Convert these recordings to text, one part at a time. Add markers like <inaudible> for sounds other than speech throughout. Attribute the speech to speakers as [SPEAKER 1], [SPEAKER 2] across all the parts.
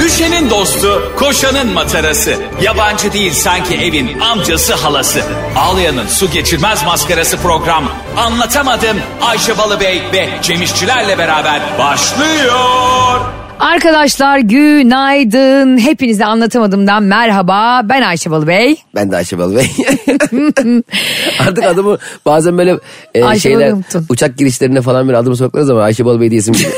[SPEAKER 1] Düşenin dostu, koşanın matarası. Yabancı değil sanki evin amcası halası. Ağlayanın su geçirmez maskarası program. Anlatamadım Ayşe Balıbey ve Cemişçilerle beraber başlıyor.
[SPEAKER 2] Arkadaşlar günaydın. Hepinize anlatamadığımdan merhaba. Ben Ayşe Balıbey.
[SPEAKER 3] Ben de Ayşe Balı Bey. <laughs> Artık adımı bazen böyle e,
[SPEAKER 2] Ayşe
[SPEAKER 3] şeyler
[SPEAKER 2] Balı'yı unuttun.
[SPEAKER 3] uçak girişlerine falan böyle adımı soktuğunuz zaman Ayşe Balı Bey
[SPEAKER 2] <laughs>
[SPEAKER 3] diyesim geliyor.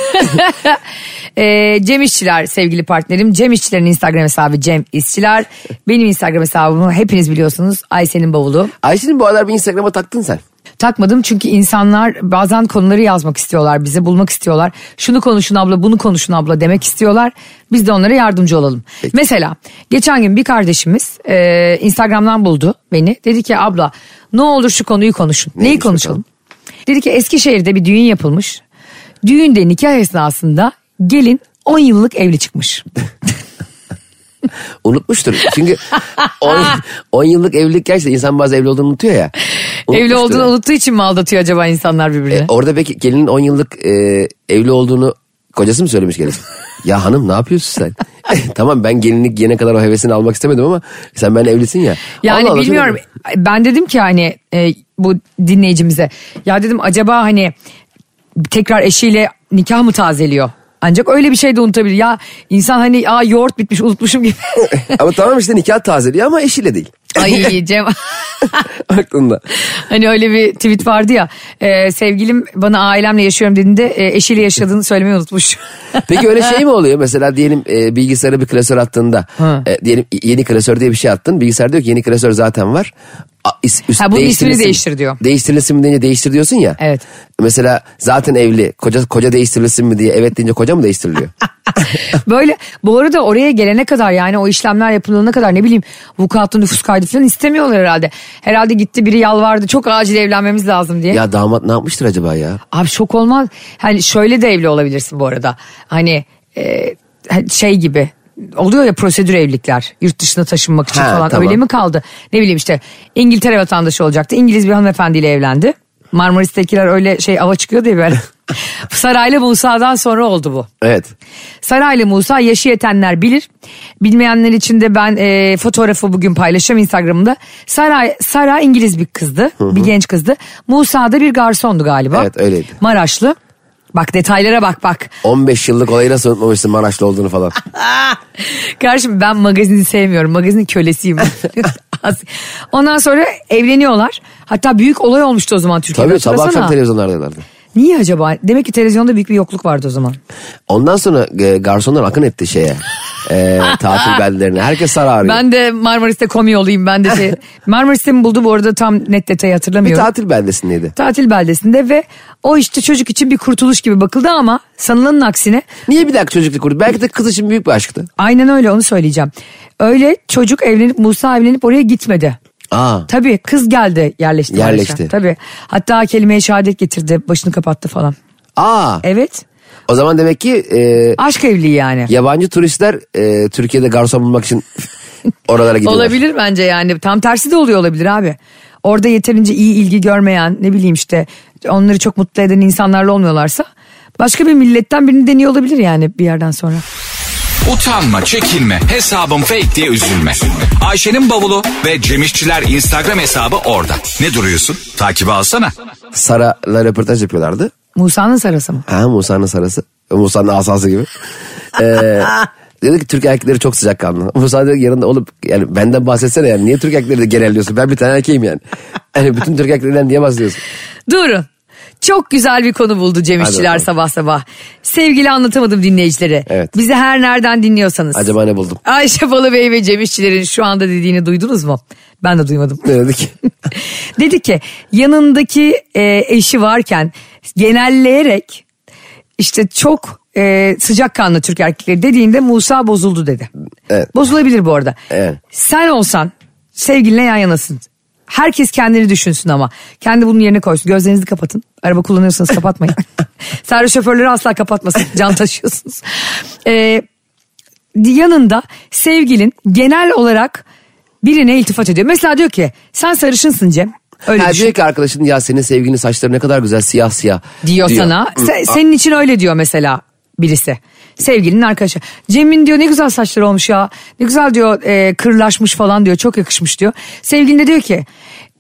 [SPEAKER 2] Ee, Cem İşçiler sevgili partnerim. Cem İşçilerin Instagram hesabı Cem İşçiler. Benim Instagram hesabımı hepiniz biliyorsunuz. Ayşe'nin bavulu.
[SPEAKER 3] Ayşe'nin bu aralar bir Instagram'a taktın sen.
[SPEAKER 2] Takmadım çünkü insanlar bazen konuları yazmak istiyorlar bize bulmak istiyorlar. Şunu konuşun abla bunu konuşun abla demek istiyorlar. Biz de onlara yardımcı olalım. Mesela geçen gün bir kardeşimiz e, Instagram'dan buldu beni. Dedi ki abla ne olur şu konuyu konuşun. Neyi
[SPEAKER 3] Neymiş
[SPEAKER 2] konuşalım? Dedi ki Eskişehir'de bir düğün yapılmış. Düğünde nikah esnasında gelin 10 yıllık evli çıkmış.
[SPEAKER 3] Unutmuştur. Çünkü
[SPEAKER 2] <laughs>
[SPEAKER 3] 10 yıllık evlilik gerçekten insan bazı evli olduğunu unutuyor ya.
[SPEAKER 2] evli
[SPEAKER 3] Unutmuştur.
[SPEAKER 2] olduğunu unuttuğu için mi aldatıyor acaba insanlar birbirini?
[SPEAKER 3] E, orada peki gelinin 10 yıllık e, evli olduğunu kocası mı
[SPEAKER 2] <laughs>
[SPEAKER 3] söylemiş gelin? ya hanım ne yapıyorsun sen? <laughs> tamam ben gelinlik giyene kadar o hevesini almak istemedim ama sen ben evlisin ya.
[SPEAKER 2] Yani
[SPEAKER 3] Allah Allah,
[SPEAKER 2] bilmiyorum.
[SPEAKER 3] şöyle-
[SPEAKER 2] Ben dedim ki hani e, bu dinleyicimize ya dedim acaba hani tekrar eşiyle nikah mı tazeliyor? Ancak öyle bir şey de unutabilir. Ya insan hani aa yoğurt bitmiş unutmuşum
[SPEAKER 3] <laughs>
[SPEAKER 2] gibi.
[SPEAKER 3] ama tamam işte nikah tazeliyor ama eşiyle değil.
[SPEAKER 2] Ay Cem
[SPEAKER 3] <laughs> Aklında.
[SPEAKER 2] hani öyle bir tweet vardı ya e, sevgilim bana ailemle yaşıyorum dediğinde e, eşiyle yaşadığını söylemeyi unutmuş. <laughs>
[SPEAKER 3] Peki öyle şey mi oluyor? Mesela diyelim e, bilgisayara bir klasör attığında
[SPEAKER 2] Ha.
[SPEAKER 3] e, diyelim y- yeni klasör diye bir şey attın. Bilgisayar diyor ki yeni klasör zaten var. A, is- üst-
[SPEAKER 2] Ha, bunun ismini
[SPEAKER 3] değiştirilsin-
[SPEAKER 2] değiştir diyor.
[SPEAKER 3] Değiştirilsin mi deyince değiştir diyorsun ya.
[SPEAKER 2] Evet.
[SPEAKER 3] Mesela zaten evli. Koca koca değiştirilsin mi diye evet deyince koca
[SPEAKER 2] <laughs>
[SPEAKER 3] mı değiştiriliyor?
[SPEAKER 2] Böyle bu arada oraya gelene kadar yani o işlemler yapılana kadar ne bileyim vukuatlı nüfus kaydı falan istemiyorlar herhalde. Herhalde gitti biri yalvardı çok acil evlenmemiz lazım diye.
[SPEAKER 3] ya damat ne yapmıştır acaba ya?
[SPEAKER 2] Abi şok olmaz. Hani şöyle de evli olabilirsin bu arada. Hani e, şey gibi oluyor ya prosedür evlilikler yurt dışına taşınmak için
[SPEAKER 3] Ha,
[SPEAKER 2] falan
[SPEAKER 3] tamam.
[SPEAKER 2] öyle mi kaldı? Ne bileyim işte İngiltere vatandaşı olacaktı. İngiliz bir hanımefendiyle evlendi. Marmaris'tekiler öyle şey ava çıkıyor diye
[SPEAKER 3] <laughs>
[SPEAKER 2] böyle. Saraylı Musa'dan sonra oldu bu.
[SPEAKER 3] Evet.
[SPEAKER 2] Saraylı Musa yaşı yetenler bilir. Bilmeyenler için de ben e, fotoğrafı bugün paylaşacağım Instagram'da. Saray, Sara İngiliz bir kızdı. Bir genç kızdı. Musa da bir garsondu galiba.
[SPEAKER 3] Evet, öyleydi.
[SPEAKER 2] Maraşlı. Bak detaylara bak bak.
[SPEAKER 3] 15 yıllık olayı nasıl unutmamışsın Maraşlı olduğunu falan.
[SPEAKER 2] <laughs> Karşım ben magazini sevmiyorum. Magazinin kölesiyim. <laughs> Ondan sonra evleniyorlar. Hatta büyük olay olmuştu o zaman Türkiye'de.
[SPEAKER 3] Tabii sabah akşam
[SPEAKER 2] Hatırlasana.
[SPEAKER 3] televizyonlardalardı.
[SPEAKER 2] Niye acaba? Demek ki televizyonda büyük bir yokluk vardı o zaman.
[SPEAKER 3] Ondan sonra e, garsonlar akın etti şeye.
[SPEAKER 2] <laughs>
[SPEAKER 3] E, tatil beldelerine. Herkes sarar arıyor.
[SPEAKER 2] Ben de Marmaris'te komi olayım ben de
[SPEAKER 3] <laughs>
[SPEAKER 2] şey. Marmaris'te mi buldu bu arada tam net detayı
[SPEAKER 3] Bir
[SPEAKER 2] hatırlamıyorum.
[SPEAKER 3] tatil beldesindeydi.
[SPEAKER 2] tatil beldesinde ve o işte çocuk için bir kurtuluş gibi bakıldı ama sanılanın aksine
[SPEAKER 3] Niye bir dakika çocukluk kurdu? Belki de kız için büyük bir aşktı.
[SPEAKER 2] aynen öyle onu söyleyeceğim. Öyle çocuk evlenip Musa evlenip oraya gitmedi.
[SPEAKER 3] Aa.
[SPEAKER 2] Tabii kız geldi yerleşti.
[SPEAKER 3] Yerleşti.
[SPEAKER 2] Maraş'a. Tabii hatta kelimeye şehadet getirdi başını kapattı falan.
[SPEAKER 3] Aa.
[SPEAKER 2] Evet
[SPEAKER 3] O zaman demek ki e,
[SPEAKER 2] aşk evliliği yani.
[SPEAKER 3] yabancı turistler e, Türkiye'de garson bulmak için <laughs> oralara gidiyorlar.
[SPEAKER 2] Olabilir bence yani tam tersi de oluyor olabilir abi. Orada yeterince iyi ilgi görmeyen ne bileyim işte onları çok mutlu eden insanlarla olmuyorlarsa başka bir milletten birini deniyor olabilir yani bir yerden sonra.
[SPEAKER 1] Utanma, çekinme, hesabım fake diye üzülme. Ayşe'nin bavulu ve Cemişçiler Instagram hesabı orada. Ne duruyorsun? Takibi alsana.
[SPEAKER 3] Sara'la röportaj yapıyorlardı.
[SPEAKER 2] Musa'nın sarası mı?
[SPEAKER 3] Ha Musa'nın sarası. Musa'nın asası gibi. E, dedi ki Türk erkekleri çok sıcakkanlı. <laughs> Musa dedi ki yanında olup yani benden bahsetsene yani niye Türk erkekleri de genelliyorsun? Ben bir tane erkeğim yani. <laughs> Yani bütün Türk erkeklerinden niye bahsediyorsun?
[SPEAKER 2] Durun. Çok güzel bir konu buldu Cem
[SPEAKER 3] Hadi
[SPEAKER 2] İşçiler
[SPEAKER 3] bakalım.
[SPEAKER 2] sabah sabah. Sevgili anlatamadım dinleyicilere.
[SPEAKER 3] Evet.
[SPEAKER 2] Bizi her nereden dinliyorsanız.
[SPEAKER 3] Acaba ne buldum? <laughs>
[SPEAKER 2] Ayşe Balıbey ve Cem İşçilerin şu anda dediğini duydunuz mu? Ben de duymadım.
[SPEAKER 3] Ne dedi ki?
[SPEAKER 2] <laughs> Dedi ki yanındaki e, eşi varken genelleyerek işte çok e, sıcakkanlı Türk erkekleri dediğinde Musa bozuldu dedi.
[SPEAKER 3] Evet.
[SPEAKER 2] Bozulabilir bu arada.
[SPEAKER 3] Evet.
[SPEAKER 2] Sen olsan sevgilinle yan yanasın. Herkes kendini düşünsün ama. Kendi bunun yerine koysun. Gözlerinizi kapatın. Araba kullanıyorsanız
[SPEAKER 3] <laughs>
[SPEAKER 2] kapatmayın. Servis şoförleri asla kapatmasın. Can taşıyorsunuz. Ee, yanında sevgilin genel olarak birine iltifat ediyor. Mesela diyor ki sen sarışınsın Cem. Öyle
[SPEAKER 3] Ha,
[SPEAKER 2] düşün.
[SPEAKER 3] diyor ki arkadaşın ya senin sevgilinin saçları ne kadar güzel siyah siyah.
[SPEAKER 2] diyor, sana. Se- senin için öyle diyor mesela. birisi. Sevgilinin arkadaşı. Cem'in diyor ne güzel saçları olmuş ya. Ne güzel diyor e, kırlaşmış falan diyor. Çok yakışmış diyor. Sevgilin de diyor ki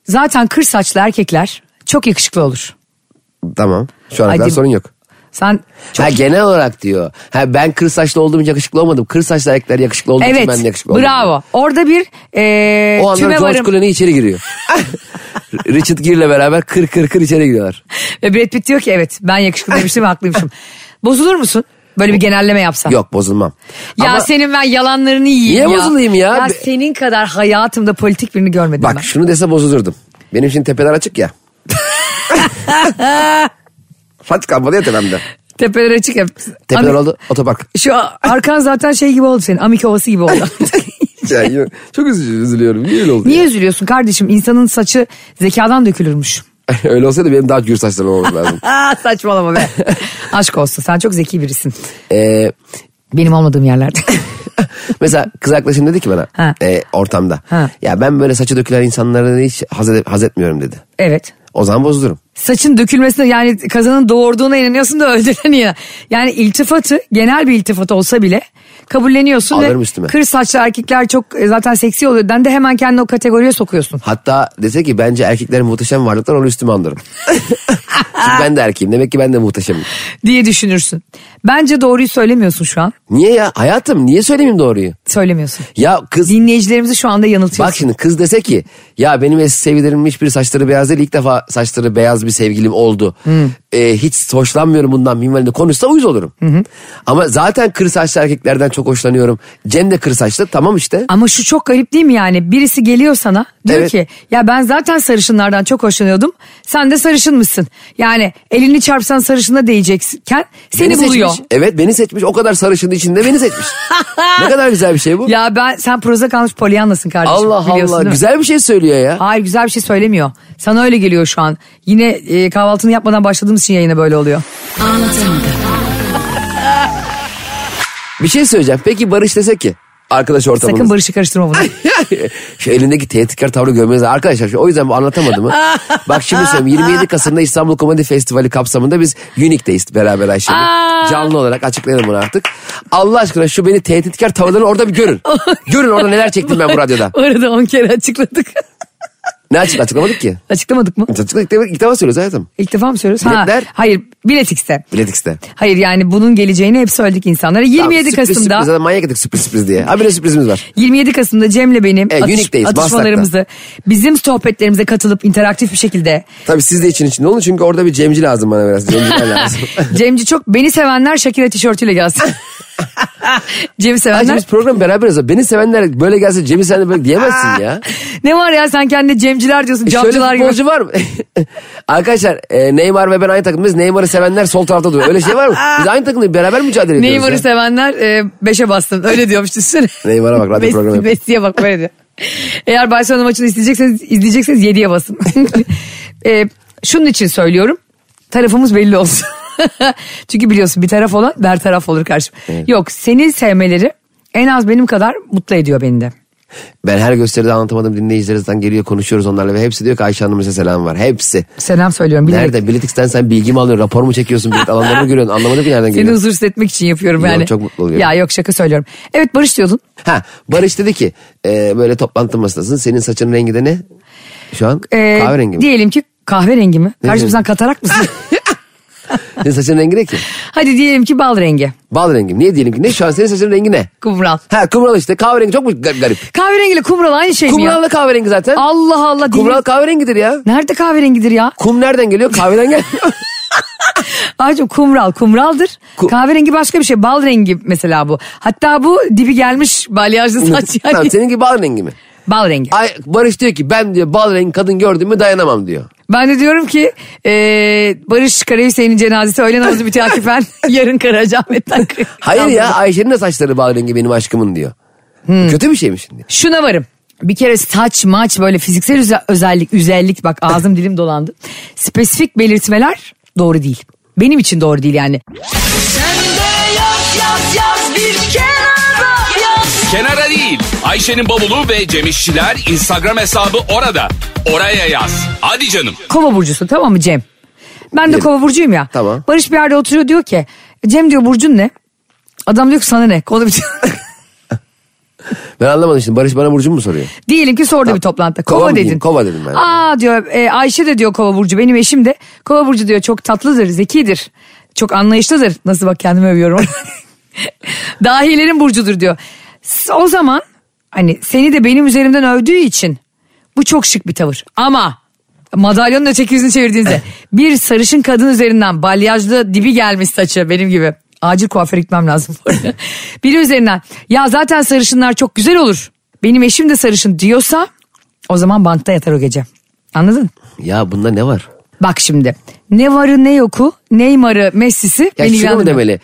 [SPEAKER 2] zaten kır saçlı erkekler çok yakışıklı olur.
[SPEAKER 3] Tamam. Şu ana kadar
[SPEAKER 2] Hadi.
[SPEAKER 3] sorun yok.
[SPEAKER 2] Sen çok
[SPEAKER 3] Ha genel olarak diyor. Ha ben kır saçlı olduğum için yakışıklı olmadım. Kır saçlı erkekler yakışıklı olduğu için
[SPEAKER 2] Evet
[SPEAKER 3] ben de yakışıklı olmadım.
[SPEAKER 2] bravo. Orada bir e,
[SPEAKER 3] O anda
[SPEAKER 2] tüme
[SPEAKER 3] George
[SPEAKER 2] varım.
[SPEAKER 3] Clooney içeri <laughs> giriyor. Richard Gere'le beraber kır kır kır içeri giriyorlar.
[SPEAKER 2] Ve Brad Pitt diyor ki evet ben yakışıklı demiştim ve haklıymışım. Bozulur musun? Böyle bir genelleme yapsan.
[SPEAKER 3] Yok bozulmam.
[SPEAKER 2] Ya
[SPEAKER 3] Ama
[SPEAKER 2] senin ben yalanlarını yiyeyim
[SPEAKER 3] Niye
[SPEAKER 2] ya.
[SPEAKER 3] bozulayım ya?
[SPEAKER 2] Ya senin kadar hayatımda politik birini görmedim
[SPEAKER 3] bak
[SPEAKER 2] ben.
[SPEAKER 3] şunu dese bozulurdum. Benim şimdi tepeler
[SPEAKER 2] <laughs>
[SPEAKER 3] açık ya. Fatih kalmadı ya tepemde.
[SPEAKER 2] Tepeler açık hep.
[SPEAKER 3] Tepeler
[SPEAKER 2] Ami-
[SPEAKER 3] oldu otopark.
[SPEAKER 2] Şu arkan zaten şey gibi oldu senin. Amik havası gibi
[SPEAKER 3] <laughs>
[SPEAKER 2] oldu.
[SPEAKER 3] Ya yine- çok üzü- üzülüyorum. Niye öyle oldu?
[SPEAKER 2] Niye
[SPEAKER 3] ya?
[SPEAKER 2] üzülüyorsun kardeşim? İnsanın saçı zekadan dökülürmüş.
[SPEAKER 3] <laughs> öyle olsaydı benim daha gür saçlarım
[SPEAKER 2] <laughs>
[SPEAKER 3] olması lazım.
[SPEAKER 2] Aa, saçmalama be. <laughs> Aşk olsun sen çok zeki birisin.
[SPEAKER 3] Ee,
[SPEAKER 2] Benim olmadığım
[SPEAKER 3] <laughs>
[SPEAKER 2] yerlerde.
[SPEAKER 3] Mesela kız arkadaşım dedi ki bana
[SPEAKER 2] Ha.
[SPEAKER 3] e, ortamda.
[SPEAKER 2] Ha.
[SPEAKER 3] Ya ben böyle saçı dökülen insanlara hiç haz, ede- haz etmiyorum dedi.
[SPEAKER 2] evet.
[SPEAKER 3] O zaman bozulurum.
[SPEAKER 2] saçın dökülmesine yani kazanın doğurduğuna inanıyorsun da <laughs> öldürene inan- Yani iltifatı genel bir iltifat olsa bile kabulleniyorsun
[SPEAKER 3] Alırım
[SPEAKER 2] ve
[SPEAKER 3] üstüme.
[SPEAKER 2] kır saçlı erkekler çok e, zaten seksi oluyor. Den de hemen kendini o kategoriye sokuyorsun. <laughs>
[SPEAKER 3] Hatta dese ki bence erkekler muhteşem varlıklar onu üstüme andırın. Çünkü ben de erkeğim demek ki ben de muhteşemim.
[SPEAKER 2] Diye düşünürsün. Bence doğruyu söylemiyorsun şu an.
[SPEAKER 3] Niye ya hayatım niye söylemeyeyim doğruyu?
[SPEAKER 2] Söylemiyorsun.
[SPEAKER 3] Ya kız
[SPEAKER 2] Dinleyicilerimizi şu anda yanıltıyorsun.
[SPEAKER 3] bak şimdi kız dese ki ya benim eski sevgililerimin hiçbiri saçları beyaz değil ilk defa saçları beyaz bir sevgilim oldu. E, hiç hoşlanmıyorum bundan minvalinde konuşsa uyuz olurum. Ama zaten kır saçlı erkeklerden çok hoşlanıyorum. Cem de kır saçlı tamam işte.
[SPEAKER 2] Ama şu çok garip değil mi yani? Birisi geliyor sana diyor
[SPEAKER 3] Evet.
[SPEAKER 2] ki ya ben zaten sarışınlardan çok hoşlanıyordum. Sen de sarışınmışsın. Yani elini çarpsan sarışına değecekken seni
[SPEAKER 3] Beni
[SPEAKER 2] buluyor.
[SPEAKER 3] Seçmiş. Evet beni seçmiş. O kadar sarışın içinde beni seçmiş. ne kadar güzel bir şey bu.
[SPEAKER 2] <laughs> Ya ben sen proza kalmış polyanlasın kardeşim.
[SPEAKER 3] Allah
[SPEAKER 2] biliyorsun
[SPEAKER 3] Allah.
[SPEAKER 2] değil mi?
[SPEAKER 3] Güzel bir şey söylüyor ya.
[SPEAKER 2] Hayır güzel bir şey söylemiyor. Sana öyle geliyor şu an. Yine e, kahvaltını yapmadan başladığımız için yayına böyle oluyor.
[SPEAKER 3] Bir şey söyleyeceğim. Peki Barış dese ki arkadaş ortamımız.
[SPEAKER 2] Sakın Barış'ı karıştırma bunu.
[SPEAKER 3] şu elindeki tehditkar tavrı görmeniz arkadaşlar şu- o yüzden bu
[SPEAKER 2] <laughs>
[SPEAKER 3] anlatamadım mı? Bak şimdi söyleyeyim 27 Kasım'da İstanbul Komedi Festivali kapsamında biz Unique'deyiz beraber Ayşe'yle.
[SPEAKER 2] Aa.
[SPEAKER 3] Canlı olarak açıklayalım bunu artık. Allah aşkına şu beni tehditkar tavırlarını orada
[SPEAKER 2] <laughs>
[SPEAKER 3] bir görün. görün orada neler çektim ben <laughs> bu radyoda.
[SPEAKER 2] Bu arada 10 kere açıkladık. <laughs>
[SPEAKER 3] Ne açık açıklamadık ki?
[SPEAKER 2] Açıklamadık mı?
[SPEAKER 3] Açıkladık ilk defa- ilk defa söylüyoruz hayatım.
[SPEAKER 2] İlk defa mı söylüyoruz? Ha,
[SPEAKER 3] Biletler?
[SPEAKER 2] hayır biletikste.
[SPEAKER 3] Biletix'te.
[SPEAKER 2] Hayır yani bunun geleceğini hep söyledik insanlara. 27
[SPEAKER 3] Tamam, sürpriz,
[SPEAKER 2] Kasım'da
[SPEAKER 3] Sürpriz, zaten manyak ettik sürpriz sürpriz diye. Ha bir de sürprizimiz var.
[SPEAKER 2] 27 Kasım'da Cem'le benim
[SPEAKER 3] E,
[SPEAKER 2] atış-
[SPEAKER 3] Unique'deyiz,
[SPEAKER 2] atışmalarımızı bizim sohbetlerimize katılıp interaktif bir
[SPEAKER 3] <laughs>
[SPEAKER 2] şekilde
[SPEAKER 3] Tabii siz de için içinde olun çünkü orada bir Cemci lazım bana biraz.
[SPEAKER 2] <laughs>
[SPEAKER 3] Cemciler lazım.
[SPEAKER 2] Cemci çok beni sevenler Şakira tişörtüyle
[SPEAKER 3] <laughs>
[SPEAKER 2] gelsin. Cem'i
[SPEAKER 3] Ayrıca
[SPEAKER 2] sevenler
[SPEAKER 3] biz program beraber yazalım. Beni sevenler böyle gelse Cem'i sen de böyle diyemezsin ya.
[SPEAKER 2] Ne var ya sen kendine Cemciler diyorsun,
[SPEAKER 3] E
[SPEAKER 2] camcılar
[SPEAKER 3] Şöyle
[SPEAKER 2] gibi.
[SPEAKER 3] futbolcu var mı? <laughs> Arkadaşlar e, Neymar ve ben aynı takımdayız. Neymar'ı sevenler sol tarafta duruyor. Öyle
[SPEAKER 2] <laughs>
[SPEAKER 3] şey var mı? Biz aynı takımda beraber mücadele ediyoruz.
[SPEAKER 2] Neymar'ı
[SPEAKER 3] ya.
[SPEAKER 2] sevenler e, beşe bastın. Öyle diyormuş düşünsene.
[SPEAKER 3] Neymar'a bak, radyo
[SPEAKER 2] Messi-
[SPEAKER 3] programı yap.
[SPEAKER 2] Messi'ye bak böyle diyor. Eğer Barcelona maçını izleyecekseniz, izleyecekseniz yediye basın. <laughs> E, şunun için söylüyorum. Tarafımız belli olsun. <laughs> Çünkü biliyorsun bir taraf olan bertaraf olur karşı. Yok seni sevmeleri en az benim kadar mutlu ediyor beni de.
[SPEAKER 3] Ben her gösteride anlatamadım dinleyicilerimizden geliyor konuşuyoruz onlarla ve hepsi diyor ki Ayşe Hanım'ın size selam var. Hepsi.
[SPEAKER 2] Selam söylüyorum bilerek.
[SPEAKER 3] Nerede? Biletix'ten sen bilgi mi alıyorsun? Rapor mu çekiyorsun? Bilet alanları mı görüyorsun? Anlamadım ki nereden
[SPEAKER 2] Seni
[SPEAKER 3] geliyor.
[SPEAKER 2] huzursuz etmek için yapıyorum
[SPEAKER 3] Yok,
[SPEAKER 2] yani.
[SPEAKER 3] çok mutlu oluyorum.
[SPEAKER 2] Ya yok şaka söylüyorum. Evet Barış diyordun.
[SPEAKER 3] Ha Barış dedi ki e, böyle toplantı masasın senin saçın rengi de ne? Şu an
[SPEAKER 2] Ee,
[SPEAKER 3] kahverengi mi?
[SPEAKER 2] Diyelim ki kahverengi mi? Kardeşim
[SPEAKER 3] rengi?
[SPEAKER 2] sen katarak
[SPEAKER 3] <laughs>
[SPEAKER 2] mısın?
[SPEAKER 3] Senin saçın rengi ne ki?
[SPEAKER 2] Hadi diyelim ki bal rengi.
[SPEAKER 3] Bal rengi mi? Niye diyelim ki ne? Şu an senin saçın rengi ne?
[SPEAKER 2] Kumral.
[SPEAKER 3] Ha kumral işte kahverengi çok mu gar- garip?
[SPEAKER 2] Kahverengi ile kumral aynı şey mi ya?
[SPEAKER 3] Kumral da kahverengi zaten.
[SPEAKER 2] Allah Allah.
[SPEAKER 3] kumral
[SPEAKER 2] diyelim-
[SPEAKER 3] kahverengidir ya.
[SPEAKER 2] Nerede kahverengidir ya?
[SPEAKER 3] Kum nereden geliyor? Kahveden geliyor.
[SPEAKER 2] Ağacım kumral kumraldır.
[SPEAKER 3] Ku-
[SPEAKER 2] kahverengi başka bir şey. Bal rengi mesela bu. Hatta bu dibi gelmiş balyajlı <laughs> saç yani.
[SPEAKER 3] tamam, seninki bal rengi mi?
[SPEAKER 2] Bal rengi.
[SPEAKER 3] Ay, Barış diyor ki ben diyor bal rengi kadın gördüm mü dayanamam diyor.
[SPEAKER 2] Ben de diyorum ki eee Barış Karahüseyin'in cenazesi öğle namazı müteakifen <laughs> yarın Karacaahmet'ten.
[SPEAKER 3] Hayır ya Ayşe'nin de saçları bal rengi benim aşkımın diyor.
[SPEAKER 2] Hmm.
[SPEAKER 3] Bu Kötü bir şey mi şimdi?
[SPEAKER 2] Şuna varım. Bir kere saç maç böyle fiziksel üze- özellik özellik bak ağzım dilim dolandı. Spesifik belirtmeler doğru değil. Benim için doğru değil yani.
[SPEAKER 1] Kenara değil. Ayşe'nin bavulu ve Cemişçiler Instagram hesabı orada. Oraya yaz. Hadi canım.
[SPEAKER 2] Kova burcusun tamam mı Cem? Ben de kova burcuyum ya.
[SPEAKER 3] Tamam.
[SPEAKER 2] Barış bir yerde oturuyor diyor ki Cem diyor Burcun ne? Adam diyor ki sana ne? Konu bir <laughs>
[SPEAKER 3] Ben anlamadım şimdi Barış bana Burcu'mu mu soruyor?
[SPEAKER 2] Diyelim ki sordu
[SPEAKER 3] Tamam.
[SPEAKER 2] bir toplantıda.
[SPEAKER 3] Kova
[SPEAKER 2] Kova,
[SPEAKER 3] mı
[SPEAKER 2] dedin.
[SPEAKER 3] diyeyim? Kova dedim ben.
[SPEAKER 2] Aa diyor e, Ayşe de diyor Kova Burcu benim eşim de. Kova Burcu diyor çok tatlıdır, zekidir. Çok anlayışlıdır. Nasıl bak kendimi övüyorum. <laughs> Dahilerin burcudur diyor. S- O zaman hani seni de benim üzerimden övdüğü için bu çok şık bir tavır. Ama madalyonun öteki yüzünü
[SPEAKER 3] <laughs>
[SPEAKER 2] çevirdiğinizde bir sarışın kadın üzerinden balyajlı dibi gelmiş saçı benim gibi. Acil kuaföre gitmem lazım. bu
[SPEAKER 3] <laughs>
[SPEAKER 2] arada. Biri üzerinden ya zaten sarışınlar çok güzel olur. Benim eşim de sarışın diyorsa o zaman bankta yatar o gece. Anladın?
[SPEAKER 3] Ya bunda ne var?
[SPEAKER 2] Bak şimdi ne varı ne yoku Neymar'ı Messi'si
[SPEAKER 3] Ya
[SPEAKER 2] beni
[SPEAKER 3] şunu mu
[SPEAKER 2] ilgilendirmiyor.
[SPEAKER 3] demeli?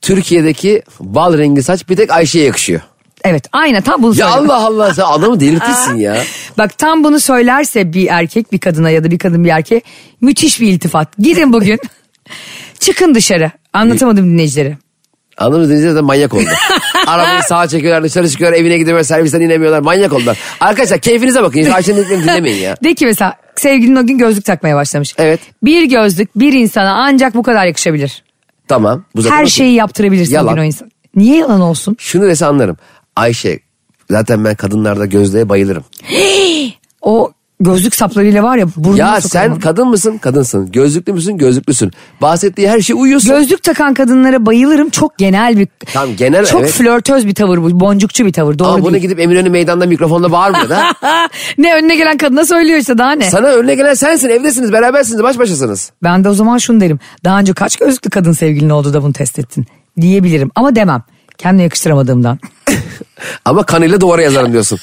[SPEAKER 3] Türkiye'deki bal rengi saç bir tek Ayşe'ye yakışıyor.
[SPEAKER 2] Evet aynen tam bunu
[SPEAKER 3] Ya
[SPEAKER 2] söyledim.
[SPEAKER 3] Allah Allah sen adamı delirtirsin ya.
[SPEAKER 2] Bak tam bunu söylerse bir erkek bir kadına ya da bir kadın bir erkeğe müthiş bir iltifat. Gidin
[SPEAKER 3] <laughs>
[SPEAKER 2] bugün. Çıkın dışarı. Anlatamadım dinleyicilere.
[SPEAKER 3] Anladığımız dinleyiciler zaten
[SPEAKER 2] <laughs>
[SPEAKER 3] manyak oldu. Arabayı sağa çekiyorlar dışarı çıkıyorlar evine gidiyorlar servisten inemiyorlar manyak oldular. Arkadaşlar keyfinize bakın
[SPEAKER 2] <laughs>
[SPEAKER 3] Ayşe'nin dediklerini dinlemeyin ya.
[SPEAKER 2] De ki mesela sevgilin o gün gözlük takmaya başlamış.
[SPEAKER 3] Evet.
[SPEAKER 2] Bir gözlük bir insana ancak bu kadar yakışabilir.
[SPEAKER 3] Tamam. Bu zaten
[SPEAKER 2] Her
[SPEAKER 3] okey.
[SPEAKER 2] şeyi yaptırabilirsin o
[SPEAKER 3] Yalan.
[SPEAKER 2] gün o insan. Niye yalan olsun?
[SPEAKER 3] Şunu dese anlarım. Ayşe zaten ben kadınlarda gözlüğe bayılırım.
[SPEAKER 2] O gözlük saplarıyla var ya burnuna
[SPEAKER 3] Ya
[SPEAKER 2] sokarım
[SPEAKER 3] sen
[SPEAKER 2] onu.
[SPEAKER 3] kadın mısın? Kadınsın. Gözlüklü müsün? Gözlüklüsün. Bahsettiği her şeye uyuyorsun.
[SPEAKER 2] Gözlük takan kadınlara bayılırım. Çok genel bir...
[SPEAKER 3] Tamam, genel,
[SPEAKER 2] Çok
[SPEAKER 3] evet.
[SPEAKER 2] flörtöz bir tavır bu. Boncukçu bir tavır. Doğru
[SPEAKER 3] Ama bunu
[SPEAKER 2] değil.
[SPEAKER 3] gidip Eminönü meydanda mikrofonla
[SPEAKER 2] <laughs>
[SPEAKER 3] bağırmıyor da.
[SPEAKER 2] ne önüne gelen kadına söylüyor işte daha ne?
[SPEAKER 3] Sana önüne gelen sensin. Evdesiniz, berabersiniz, baş başasınız.
[SPEAKER 2] Ben de o zaman şunu derim. Daha önce kaç gözlüklü kadın sevgilin oldu da bunu test ettin? Diyebilirim ama demem. Kendime
[SPEAKER 3] <laughs>
[SPEAKER 2] yakıştıramadığımdan.
[SPEAKER 3] Ama kanıyla duvara
[SPEAKER 2] <laughs>
[SPEAKER 3] yazarım diyorsun.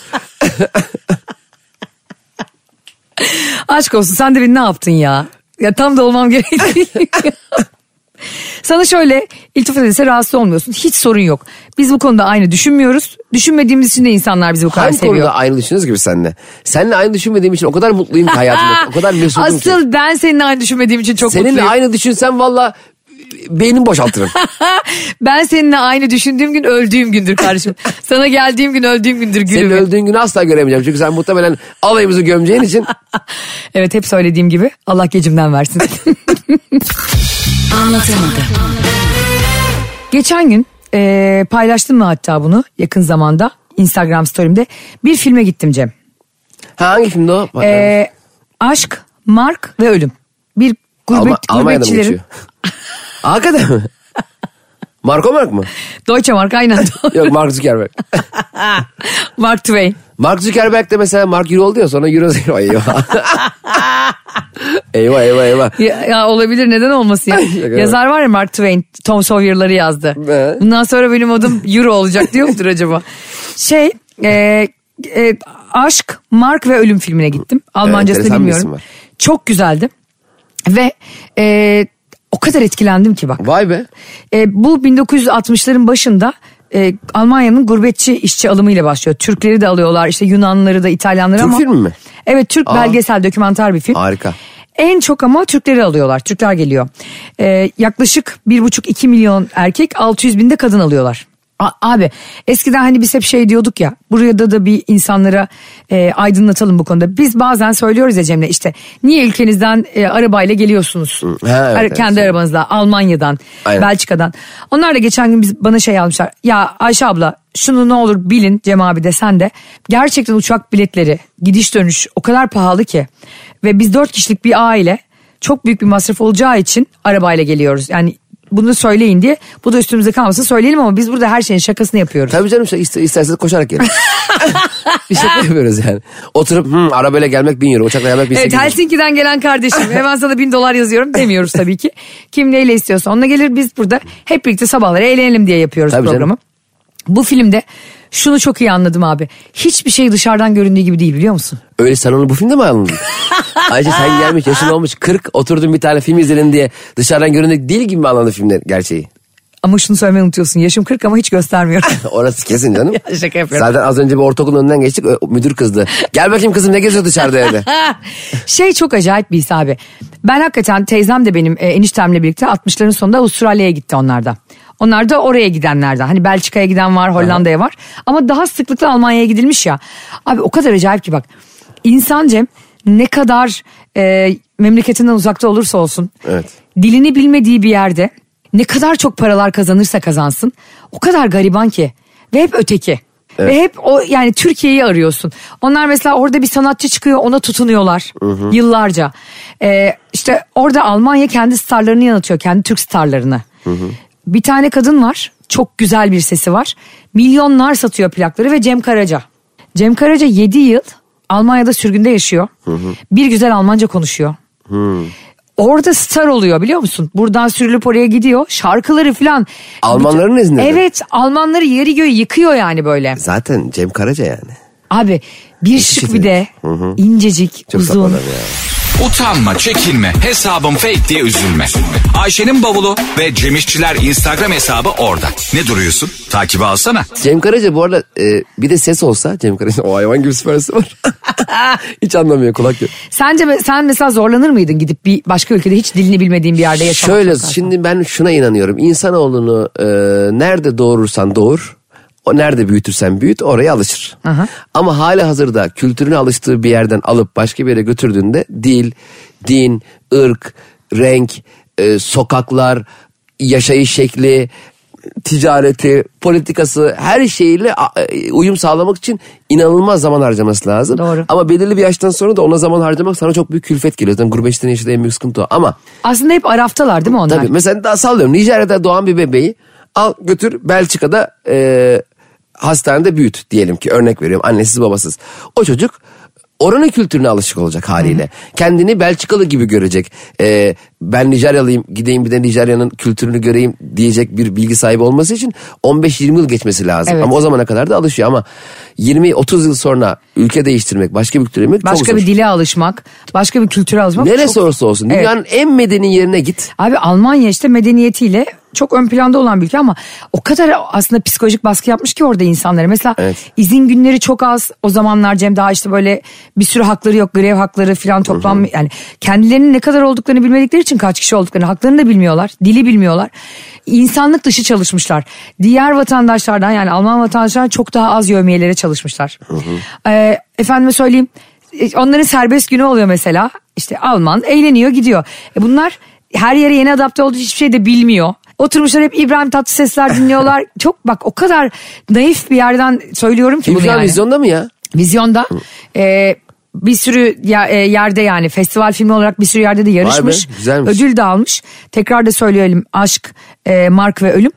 [SPEAKER 2] Aşk olsun sen de beni ne yaptın ya? Ya tam da olmam
[SPEAKER 3] <laughs>
[SPEAKER 2] gerektiği. Sana şöyle iltifat edilse rahatsız olmuyorsun. Hiç sorun yok. Biz bu konuda aynı düşünmüyoruz. Düşünmediğimiz için de insanlar bizi bu kadar
[SPEAKER 3] Hangi
[SPEAKER 2] seviyor.
[SPEAKER 3] konuda aynı düşünüyoruz gibi seninle? Seninle aynı düşünmediğim için o kadar mutluyum ki hayatımda. O
[SPEAKER 2] <laughs>
[SPEAKER 3] kadar mesutum ki.
[SPEAKER 2] Asıl ben seninle aynı düşünmediğim için çok
[SPEAKER 3] Seninle
[SPEAKER 2] mutluyum.
[SPEAKER 3] aynı düşünsem valla
[SPEAKER 2] <laughs>
[SPEAKER 3] beynimi boşaltırım.
[SPEAKER 2] ben seninle aynı düşündüğüm gün öldüğüm gündür
[SPEAKER 3] <laughs>
[SPEAKER 2] kardeşim. Sana geldiğim gün öldüğüm gündür
[SPEAKER 3] Senin
[SPEAKER 2] gülüm.
[SPEAKER 3] öldüğün günü asla göremeyeceğim. Çünkü sen muhtemelen alayımızı gömeceğin için
[SPEAKER 2] <laughs> Evet hep söylediğim gibi Allah gecimden versin. Anlatamadım. Geçen gün eee, paylaştım mı hatta bunu yakın zamanda Instagram story'imde bir filme gittim Cem.
[SPEAKER 3] Ha hangi filmdi o?
[SPEAKER 2] Eee, aşk, Mark ve Ölüm. Bir gurbet,
[SPEAKER 3] Alma- Almanya'da mı
[SPEAKER 2] gurbetçilerin.
[SPEAKER 3] geçiyor? <laughs> Hakikaten mi? Marco Mark mı?
[SPEAKER 2] Deutsche Mark aynen. <laughs>
[SPEAKER 3] Yok Mark Zuckerberg.
[SPEAKER 2] Mark Twain.
[SPEAKER 3] Mark Zuckerberg de mesela Mark Euro oldu ya sonra Euro zero eyvah. eyvah eyvah eyvah.
[SPEAKER 2] Ya, ya olabilir neden olmasın
[SPEAKER 3] <laughs>
[SPEAKER 2] ya.
[SPEAKER 3] şaka
[SPEAKER 2] Yazar var ya Mark Twain Tom Sawyer'ları yazdı.
[SPEAKER 3] Ee?
[SPEAKER 2] Bundan sonra benim adım Euro olacak diyor mudur acaba? Şey e, e, Aşk, Mark ve Ölüm filmine gittim. Almancasını
[SPEAKER 3] enteresan bir isim
[SPEAKER 2] bilmiyorum.
[SPEAKER 3] var.
[SPEAKER 2] Çok güzeldi. Ve e, o kadar etkilendim ki bak.
[SPEAKER 3] Vay be.
[SPEAKER 2] E, bu 1960'ların başında e, Almanya'nın gurbetçi işçi alımıyla başlıyor. Türkleri de alıyorlar işte Yunanları da İtalyanları
[SPEAKER 3] Türk
[SPEAKER 2] ama.
[SPEAKER 3] filmi mi?
[SPEAKER 2] Evet Türk
[SPEAKER 3] Aa.
[SPEAKER 2] belgesel dokümanter bir film.
[SPEAKER 3] Harika.
[SPEAKER 2] En çok ama Türkleri alıyorlar. Türkler geliyor. Ee, yaklaşık 1,5-2 milyon erkek 600 binde kadın alıyorlar. A- abi eskiden hani biz hep şey diyorduk ya buraya da da bir insanlara e, aydınlatalım bu konuda. Biz bazen söylüyoruz ya Cem'le işte niye ülkenizden e, arabayla geliyorsunuz?
[SPEAKER 3] Hı, ha, evet,
[SPEAKER 2] Ara-
[SPEAKER 3] evet.
[SPEAKER 2] kendi arabanızla Almanya'dan,
[SPEAKER 3] Aynen.
[SPEAKER 2] Belçika'dan. Onlar da geçen gün biz, bana şey almışlar. Ya Ayşe abla şunu ne olur bilin Cem abi de sen de. Gerçekten uçak biletleri gidiş dönüş o kadar pahalı ki. Ve biz dört kişilik bir aile çok büyük bir masraf olacağı için arabayla geliyoruz. Yani bunu söyleyin diye bu da üstümüze kalmasın söyleyelim ama biz burada her şeyin şakasını yapıyoruz.
[SPEAKER 3] Tabii canım işte isterseniz koşarak gelin. bir şey yapıyoruz yani. Oturup "Hmm, arabayla gelmek bin euro uçakla gelmek bin
[SPEAKER 2] Evet
[SPEAKER 3] sekiz euro."
[SPEAKER 2] Helsinki'den gelen
[SPEAKER 3] <laughs>
[SPEAKER 2] kardeşim hemen sana bin dolar yazıyorum demiyoruz tabii ki. Kim neyle istiyorsa onunla gelir biz burada hep birlikte sabahları eğlenelim diye yapıyoruz
[SPEAKER 3] Tabii canım.
[SPEAKER 2] programı. Bu filmde şunu çok iyi anladım abi. Hiçbir şey dışarıdan göründüğü gibi değil biliyor musun?
[SPEAKER 3] Öyle sen onu bu filmde mi alındın? Ayrıca sen gelmiş yaşın olmuş 40 oturdun bir tane film izledin diye dışarıdan göründük değil gibi mi alındı filmde gerçeği?
[SPEAKER 2] Ama şunu söylemeyi unutuyorsun. Yaşım 40 ama hiç göstermiyorum.
[SPEAKER 3] <laughs> Orası kesin canım.
[SPEAKER 2] <laughs> Ya şaka yapıyorum.
[SPEAKER 3] Zaten az önce bir ortaokulun önünden geçtik. Ö- Müdür kızdı. Gel bakayım kızım ne geziyor
[SPEAKER 2] <laughs>
[SPEAKER 3] dışarıda evde.
[SPEAKER 2] şey çok acayip bir his abi. Ben hakikaten teyzem de benim e, eniştemle birlikte 60'ların sonunda Avustralya'ya gitti onlar da. Onlar da oraya gidenlerden. Hani Belçika'ya giden var, Hollanda'ya var. Ama daha sıklıkla Almanya'ya gidilmiş ya. Abi o kadar acayip ki bak. İnsan Cem ne kadar e, memleketinden uzakta olursa olsun.
[SPEAKER 3] Evet.
[SPEAKER 2] Dilini bilmediği bir yerde ne kadar çok paralar kazanırsa kazansın o kadar gariban ki ve hep öteki. Ve hep o yani Türkiye'yi arıyorsun. Onlar mesela orada bir sanatçı çıkıyor ona tutunuyorlar yıllarca. Ee, işte orada Almanya kendi starlarını yanıltıyor kendi Türk starlarını. Bir tane kadın var çok güzel bir sesi var. Milyonlar satıyor plakları ve Cem Karaca. Cem Karaca 7 yıl Almanya'da sürgünde yaşıyor. Bir güzel Almanca konuşuyor. Orada star oluyor biliyor musun? Buradan sürülüp oraya gidiyor. Şarkıları falan.
[SPEAKER 3] Almanların
[SPEAKER 2] Bütün-
[SPEAKER 3] izniyle mi?
[SPEAKER 2] Evet Almanları yeri göğü yıkıyor yani böyle.
[SPEAKER 3] Zaten Cem Karaca yani.
[SPEAKER 2] Abi bir şık bir de incecik
[SPEAKER 3] Çok saf
[SPEAKER 2] uzun.
[SPEAKER 3] adam ya.
[SPEAKER 1] Utanma, çekinme, hesabım fake diye üzülme. Ayşe'nin bavulu ve Cemişçiler Instagram hesabı orada. Ne duruyorsun? Takibi alsana.
[SPEAKER 3] Cem Karaca bu arada e, bir de ses olsa Cem Karaca o hayvan gibi süper sesi
[SPEAKER 2] <laughs>
[SPEAKER 3] var. Hiç anlamıyor kulak yok.
[SPEAKER 2] Sence me- sen mesela zorlanır mıydın gidip bir başka ülkede hiç dilini bilmediğin bir yerde yaşamak?
[SPEAKER 3] Şöyle
[SPEAKER 2] zorunda?
[SPEAKER 3] şimdi ben şuna inanıyorum. İnsanoğlunu e, nerede doğurursan doğur. O nerede büyütürsen büyüt oraya alışır. Ama hali hazırda kültürüne alıştığı bir yerden alıp başka bir yere götürdüğünde dil, din, ırk, renk, e, sokaklar, yaşayış şekli, ticareti, politikası her şeyle a- e, uyum sağlamak için inanılmaz zaman harcaması lazım.
[SPEAKER 2] Doğru.
[SPEAKER 3] Ama belirli bir yaştan sonra da ona zaman harcamak sana çok büyük külfet geliyor. Zaten gurbetçilerin yaşadığı en büyük sıkıntı o. Ama
[SPEAKER 2] Aslında hep araftalar değil mi onlar?
[SPEAKER 3] Tabii mesela daha sallıyorum Nijerya'da doğan bir bebeği al götür Belçika'da e, hastanede büyüt diyelim ki örnek veriyorum annesiz babasız. O çocuk oranın kültürüne alışık olacak haliyle. Kendini Belçikalı gibi görecek. E, ben Nijeryalıyım gideyim bir de Nijerya'nın kültürünü göreyim diyecek bir bilgi sahibi olması için 15-20 yıl geçmesi lazım.
[SPEAKER 2] Evet.
[SPEAKER 3] Ama o zamana kadar da alışıyor ama 20-30 yıl sonra ülke değiştirmek başka bir kültüre girmek çok
[SPEAKER 2] Başka
[SPEAKER 3] zor.
[SPEAKER 2] bir dile alışmak, başka bir kültüre alışmak.
[SPEAKER 3] Neresi
[SPEAKER 2] çok-
[SPEAKER 3] olursa olsun
[SPEAKER 2] Evet.
[SPEAKER 3] dünyanın en medeni yerine git.
[SPEAKER 2] Abi Almanya işte medeniyetiyle çok ön planda olan bir ülke ama o kadar aslında psikolojik baskı yapmış ki orada insanlara. Mesela
[SPEAKER 3] Evet.
[SPEAKER 2] izin günleri çok az. O zamanlar Cem daha işte böyle bir sürü hakları yok. Grev hakları falan toplam yani kendilerinin ne kadar olduklarını bilmedikleri için kaç kişi olduklarını haklarını da bilmiyorlar. Dili bilmiyorlar. İnsanlık dışı çalışmışlar. Diğer vatandaşlardan yani Alman vatandaşlardan çok daha az yövmiyelere çalışmışlar. Ee, efendime söyleyeyim e, onların serbest günü oluyor mesela. İşte Alman eğleniyor gidiyor. E bunlar her yere yeni adapte olduğu için hiçbir şey de bilmiyor. Oturmuşlar hep İbrahim Tatlısesler
[SPEAKER 3] <laughs>
[SPEAKER 2] dinliyorlar. Çok bak o kadar naif bir yerden söylüyorum ki bunu
[SPEAKER 3] İmkan
[SPEAKER 2] yani.
[SPEAKER 3] vizyonda mı ya?
[SPEAKER 2] Vizyonda e, bir sürü ya- e, yerde yani festival filmi olarak bir sürü yerde de yarışmış.
[SPEAKER 3] be, güzelmiş.
[SPEAKER 2] ödül de almış. Tekrar da söyleyelim Aşk, e, Mark ve Ölüm.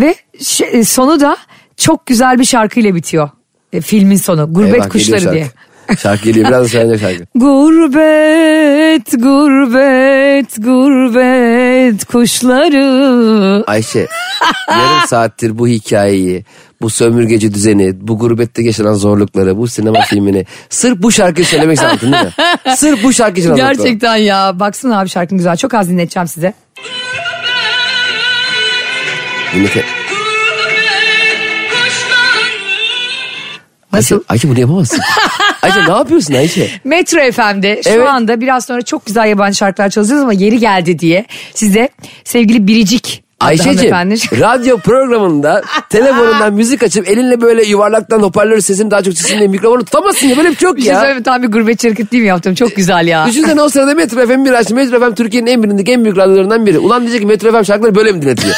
[SPEAKER 2] Ve şey- e, sonu da çok güzel bir şarkıyla bitiyor. E, filmin sonu. Gurbet
[SPEAKER 3] Eyvah, geliyor
[SPEAKER 2] Kuşları
[SPEAKER 3] şarkı.
[SPEAKER 2] diye.
[SPEAKER 3] Şarkı geliyor biraz da söylenecek şarkı.
[SPEAKER 2] Gurbet, gurbet, gurbet kuşları.
[SPEAKER 3] Ayşe yarım saattir bu hikayeyi, bu sömürgeci düzeni, bu gurbette yaşanan zorlukları, bu sinema filmini sırf bu şarkıyı söylemek için anlattın değil mi? Sırf bu şarkı için anlattın.
[SPEAKER 2] Gerçekten ya. Baksana abi şarkın güzel. Çok az dinleteceğim size.
[SPEAKER 3] Dinle- Ayşe,
[SPEAKER 2] Nasıl?
[SPEAKER 3] Ayşe bunu yapamazsın. Ayşe ne yapıyorsun Ayşe?
[SPEAKER 2] Metro FM'de şu
[SPEAKER 3] Evet.
[SPEAKER 2] anda biraz sonra çok güzel yabancı şarkılar çalacağız ama yeri geldi diye size sevgili Biricik adlı
[SPEAKER 3] Ayşe'cim
[SPEAKER 2] hanımefendi-
[SPEAKER 3] radyo programında telefonundan müzik açıp elinle böyle yuvarlaktan hoparlör sesini daha çok çıksın diye mikrofonu tutamazsın ya böyle bir şey yok
[SPEAKER 2] Bir şey
[SPEAKER 3] ya.
[SPEAKER 2] söyleyeyim mi? tam bir gurbetçi hareketi değil mi yaptım? Çok güzel ya.
[SPEAKER 3] Düşünsene o sırada Metro FM bir açtı. Metro FM Türkiye'nin en bilindik en büyük radyolarından biri. Ulan diyecek ki Metro FM şarkıları böyle
[SPEAKER 2] <laughs>
[SPEAKER 3] mi dinletiyor?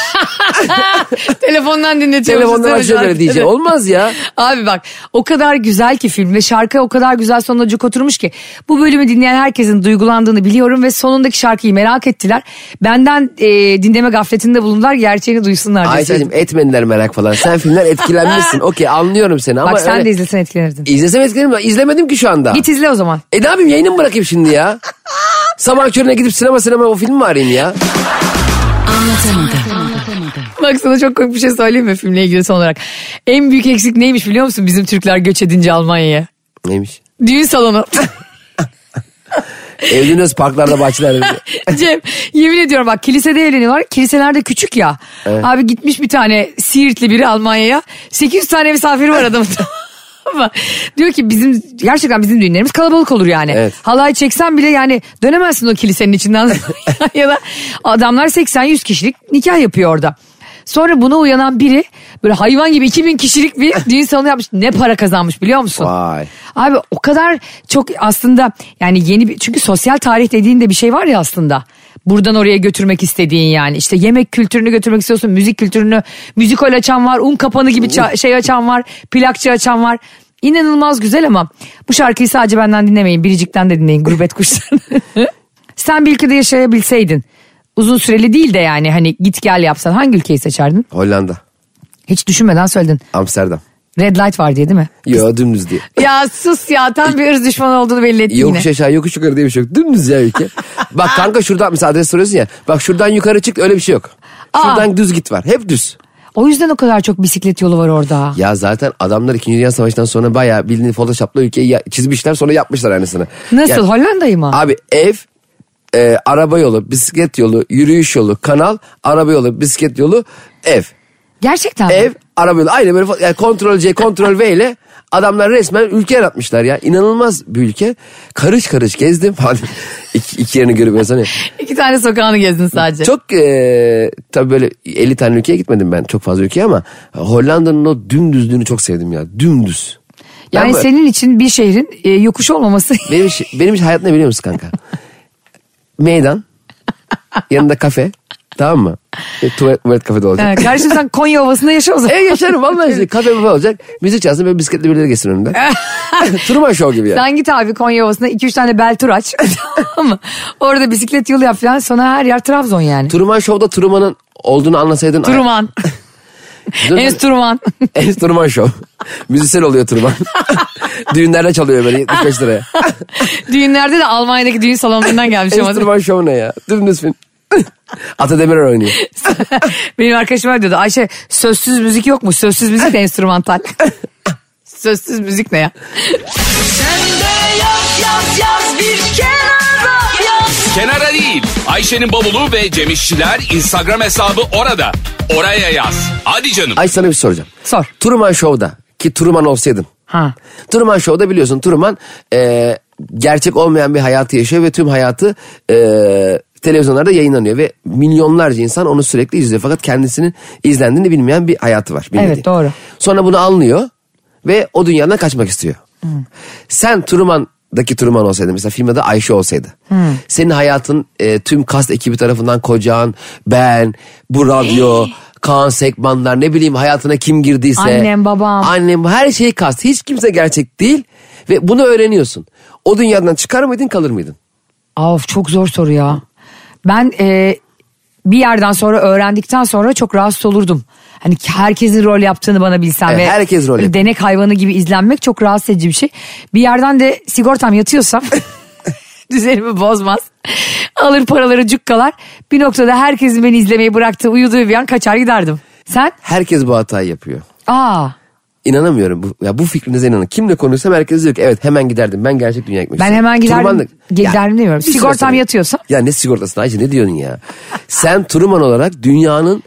[SPEAKER 2] Telefondan dinletiyorum.
[SPEAKER 3] Telefondan
[SPEAKER 2] Size
[SPEAKER 3] açıyor böyle
[SPEAKER 2] şarkı.
[SPEAKER 3] diyecek. Olmaz ya.
[SPEAKER 2] Abi bak o kadar güzel ki film ve şarkı o kadar güzel sonuna cuk oturmuş ki bu bölümü dinleyen herkesin duygulandığını biliyorum ve sonundaki şarkıyı merak ettiler. Benden e, dinleme gafletinde bulundular gerçeğini duysunlar diye.
[SPEAKER 3] Ayşe'cim
[SPEAKER 2] söyledim.
[SPEAKER 3] etmediler merak falan. Sen
[SPEAKER 2] <laughs>
[SPEAKER 3] filmler etkilenmişsin. Okey anlıyorum seni ama
[SPEAKER 2] Bak sen
[SPEAKER 3] öyle-
[SPEAKER 2] de izlesen etkilenirdin.
[SPEAKER 3] İzlesem etkilenirim ama izlemedim ki şu anda.
[SPEAKER 2] Git izle o zaman.
[SPEAKER 3] E ne yapayım yayını mı bırakayım şimdi
[SPEAKER 2] <laughs>
[SPEAKER 3] ya? Sabah körüne gidip sinema sinema o filmi mi arayayım ya?
[SPEAKER 2] Bak sana çok komik bir şey söyleyeyim mi filmle ilgili son olarak? En büyük eksik neymiş biliyor musun bizim Türkler göç edince Almanya'ya?
[SPEAKER 3] Neymiş?
[SPEAKER 2] Düğün salonu. <laughs>
[SPEAKER 3] Evleniyoruz parklarda bahçelerde.
[SPEAKER 2] <laughs> Cem yemin ediyorum bak kilisede evleniyorlar. Kiliselerde küçük ya. Abi gitmiş bir tane Siirtli biri Almanya'ya. 800 tane misafiri var adamın. <laughs> Ama diyor ki bizim gerçekten bizim düğünlerimiz kalabalık olur yani.
[SPEAKER 3] Evet.
[SPEAKER 2] Halay çeksen bile yani <laughs> dönemezsin o kilisenin içinden. ya da adamlar 80-100 kişilik nikah yapıyor orada. Sonra buna uyanan biri böyle hayvan gibi 2000 kişilik bir düğün salonu yapmış. Ne para kazanmış biliyor musun?
[SPEAKER 3] Vay.
[SPEAKER 2] Abi o kadar çok aslında yani yeni bir çünkü sosyal tarih dediğinde bir şey var ya aslında. Buradan oraya götürmek istediğin yani işte yemek kültürünü götürmek istiyorsun müzik kültürünü müzikal açan var un kapanı gibi ça- şey açan var plakçı açan var İnanılmaz güzel ama bu şarkıyı sadece benden dinlemeyin biricikten de dinleyin gurbet <laughs> kuştan. Sen bir ülkede yaşayabilseydin uzun süreli değil de yani hani git gel yapsan hangi ülkeyi seçerdin?
[SPEAKER 3] Hollanda.
[SPEAKER 2] Hiç düşünmeden söyledin
[SPEAKER 3] Amsterdam.
[SPEAKER 2] red light var diye değil mi?
[SPEAKER 3] Yo dümdüz diye.
[SPEAKER 2] Ya sus ya tam bir ırz düşmanı olduğunu belli ettin yine.
[SPEAKER 3] Yokuş aşağı yokuş yukarı diye bir şey yok. Dümdüz ya <laughs> ülke. Bak kanka şuradan mesela adres soruyorsun ya. Bak şuradan yukarı çık öyle bir şey yok.
[SPEAKER 2] Aa.
[SPEAKER 3] Şuradan düz git var. Hep düz.
[SPEAKER 2] O yüzden o kadar çok bisiklet yolu var orada.
[SPEAKER 3] Ya zaten adamlar 2. Dünya Savaşı'ndan sonra bayağı bildiğin Photoshop'la ülkeyi ya- çizmişler sonra yapmışlar aynısını.
[SPEAKER 2] Nasıl
[SPEAKER 3] Yani-
[SPEAKER 2] Hollanda'yı mı?
[SPEAKER 3] Abi ev, e, araba yolu, bisiklet yolu, yürüyüş yolu, kanal, araba yolu, bisiklet yolu, ev.
[SPEAKER 2] Gerçekten mi?
[SPEAKER 3] Ev, araba yolu. Aynı böyle fo- yani kontrol C, kontrol V ile adamlar resmen ülke yaratmışlar ya. İnanılmaz bir ülke. Karış karış gezdim falan. <laughs> iki, iki yerini görüp insan ya.
[SPEAKER 2] İki tane sokağını gezdin sadece.
[SPEAKER 3] Çok e, tabii böyle 50 tane ülkeye gitmedim ben çok fazla ülkeye ama Hollanda'nın o dümdüzlüğünü çok sevdim ya. Dümdüz. Ben
[SPEAKER 2] yani
[SPEAKER 3] böyle-
[SPEAKER 2] senin için bir şehrin e, yokuş olmaması <laughs>
[SPEAKER 3] Benim, iş- benim iş hayat ne biliyor musun kanka? Meydan. Yanında kafe. Tamam mı? E, tuvalet, tuvalet kafede olacak.
[SPEAKER 2] Ha, Kardeşim sen Konya Ovası'nda yaşa o zaman.
[SPEAKER 3] <laughs> E yaşarım vallahi işte. Kafe baba olacak. Müzik çalsın böyle bisikletli birileri geçsin önünde. Truman Show gibi
[SPEAKER 2] <laughs>
[SPEAKER 3] ya.
[SPEAKER 2] Sen git abi Konya Ovası'nda 2-3 tane bel tur aç. <laughs> Tamam mı? Orada bisiklet yolu yap falan. Sonra her yer Trabzon yani.
[SPEAKER 3] Truman Show'da Truman'ın olduğunu anlasaydın. <laughs>
[SPEAKER 2] Turman.
[SPEAKER 3] Dur-
[SPEAKER 2] Enstrüman.
[SPEAKER 3] <laughs> Enstrüman şov. Müzisyen oluyor Truman. Düğünlerde çalıyor böyle 75 liraya.
[SPEAKER 2] <laughs> Düğünlerde de Almanya'daki düğün salonlarından gelmiş ama.
[SPEAKER 3] Enstrüman şov ne ya? Dümdüz film. <laughs> Ata Demirer oynuyor.
[SPEAKER 2] <laughs> Benim arkadaşım öyle diyordu. Ayşe sözsüz müzik yok mu? Sözsüz müzik de
[SPEAKER 3] <laughs>
[SPEAKER 2] enstrümantal. sözsüz müzik ne ya?
[SPEAKER 1] Kenara değil. Ayşe'nin bavulu ve Cemişçiler Instagram hesabı orada. Oraya yaz. Hadi canım.
[SPEAKER 3] Ay sana bir soracağım.
[SPEAKER 2] Sor.
[SPEAKER 3] Truman Show'da ki Truman olsaydın.
[SPEAKER 2] Ha.
[SPEAKER 3] Truman Show'da biliyorsun Truman e, gerçek olmayan bir hayatı yaşıyor ve tüm hayatı e, televizyonlarda yayınlanıyor ve milyonlarca insan onu sürekli izliyor fakat kendisinin izlendiğini bilmeyen bir hayatı var. bilmediği.
[SPEAKER 2] Evet, doğru.
[SPEAKER 3] Sonra bunu anlıyor ve o dünyadan kaçmak istiyor.
[SPEAKER 2] Hmm.
[SPEAKER 3] Sen Truman'daki Truman olsaydın mesela filmde de Ayşe olsaydı. Senin hayatın e, tüm kast ekibi tarafından kocan, ben, bu radyo, Kaan Sekmanlar ne bileyim hayatına kim girdiyse.
[SPEAKER 2] Annem, babam.
[SPEAKER 3] Annem her şeyi kast. Hiç kimse gerçek değil ve bunu öğreniyorsun. O dünyadan çıkar mıydın kalır mıydın?
[SPEAKER 2] Of çok zor soru ya. Ben e, bir yerden sonra öğrendikten sonra çok rahatsız olurdum. Hani ki herkesin rol yaptığını bana bilsem
[SPEAKER 3] Evet,
[SPEAKER 2] ve
[SPEAKER 3] E, herkes rol
[SPEAKER 2] böyle
[SPEAKER 3] yapıyor.
[SPEAKER 2] denek hayvanı gibi izlenmek çok rahatsız edici bir şey. Bir yerden de sigortam
[SPEAKER 3] <laughs>
[SPEAKER 2] yatıyorsam düzenimi bozmaz. Alır paraları cukkalar. Bir noktada herkesin beni izlemeyi bıraktığı uyuduğu bir an kaçar giderdim. Sen?
[SPEAKER 3] Herkes bu hatayı yapıyor.
[SPEAKER 2] Aa.
[SPEAKER 3] İnanamıyorum. Bu, ya bu fikrinize inanın. Kimle konuşsam herkes diyor ki evet hemen giderdim. Ben gerçek dünyaya gitmek
[SPEAKER 2] Ben
[SPEAKER 3] istiyorum.
[SPEAKER 2] hemen giderdim.
[SPEAKER 3] Turmanlık-
[SPEAKER 2] Giderdim demiyorum.
[SPEAKER 3] bir süre
[SPEAKER 2] Sigortam
[SPEAKER 3] sonra-
[SPEAKER 2] yatıyorsa?
[SPEAKER 3] Ya ne sigortası Ayşe ne diyorsun ya? Sen Truman olarak dünyanın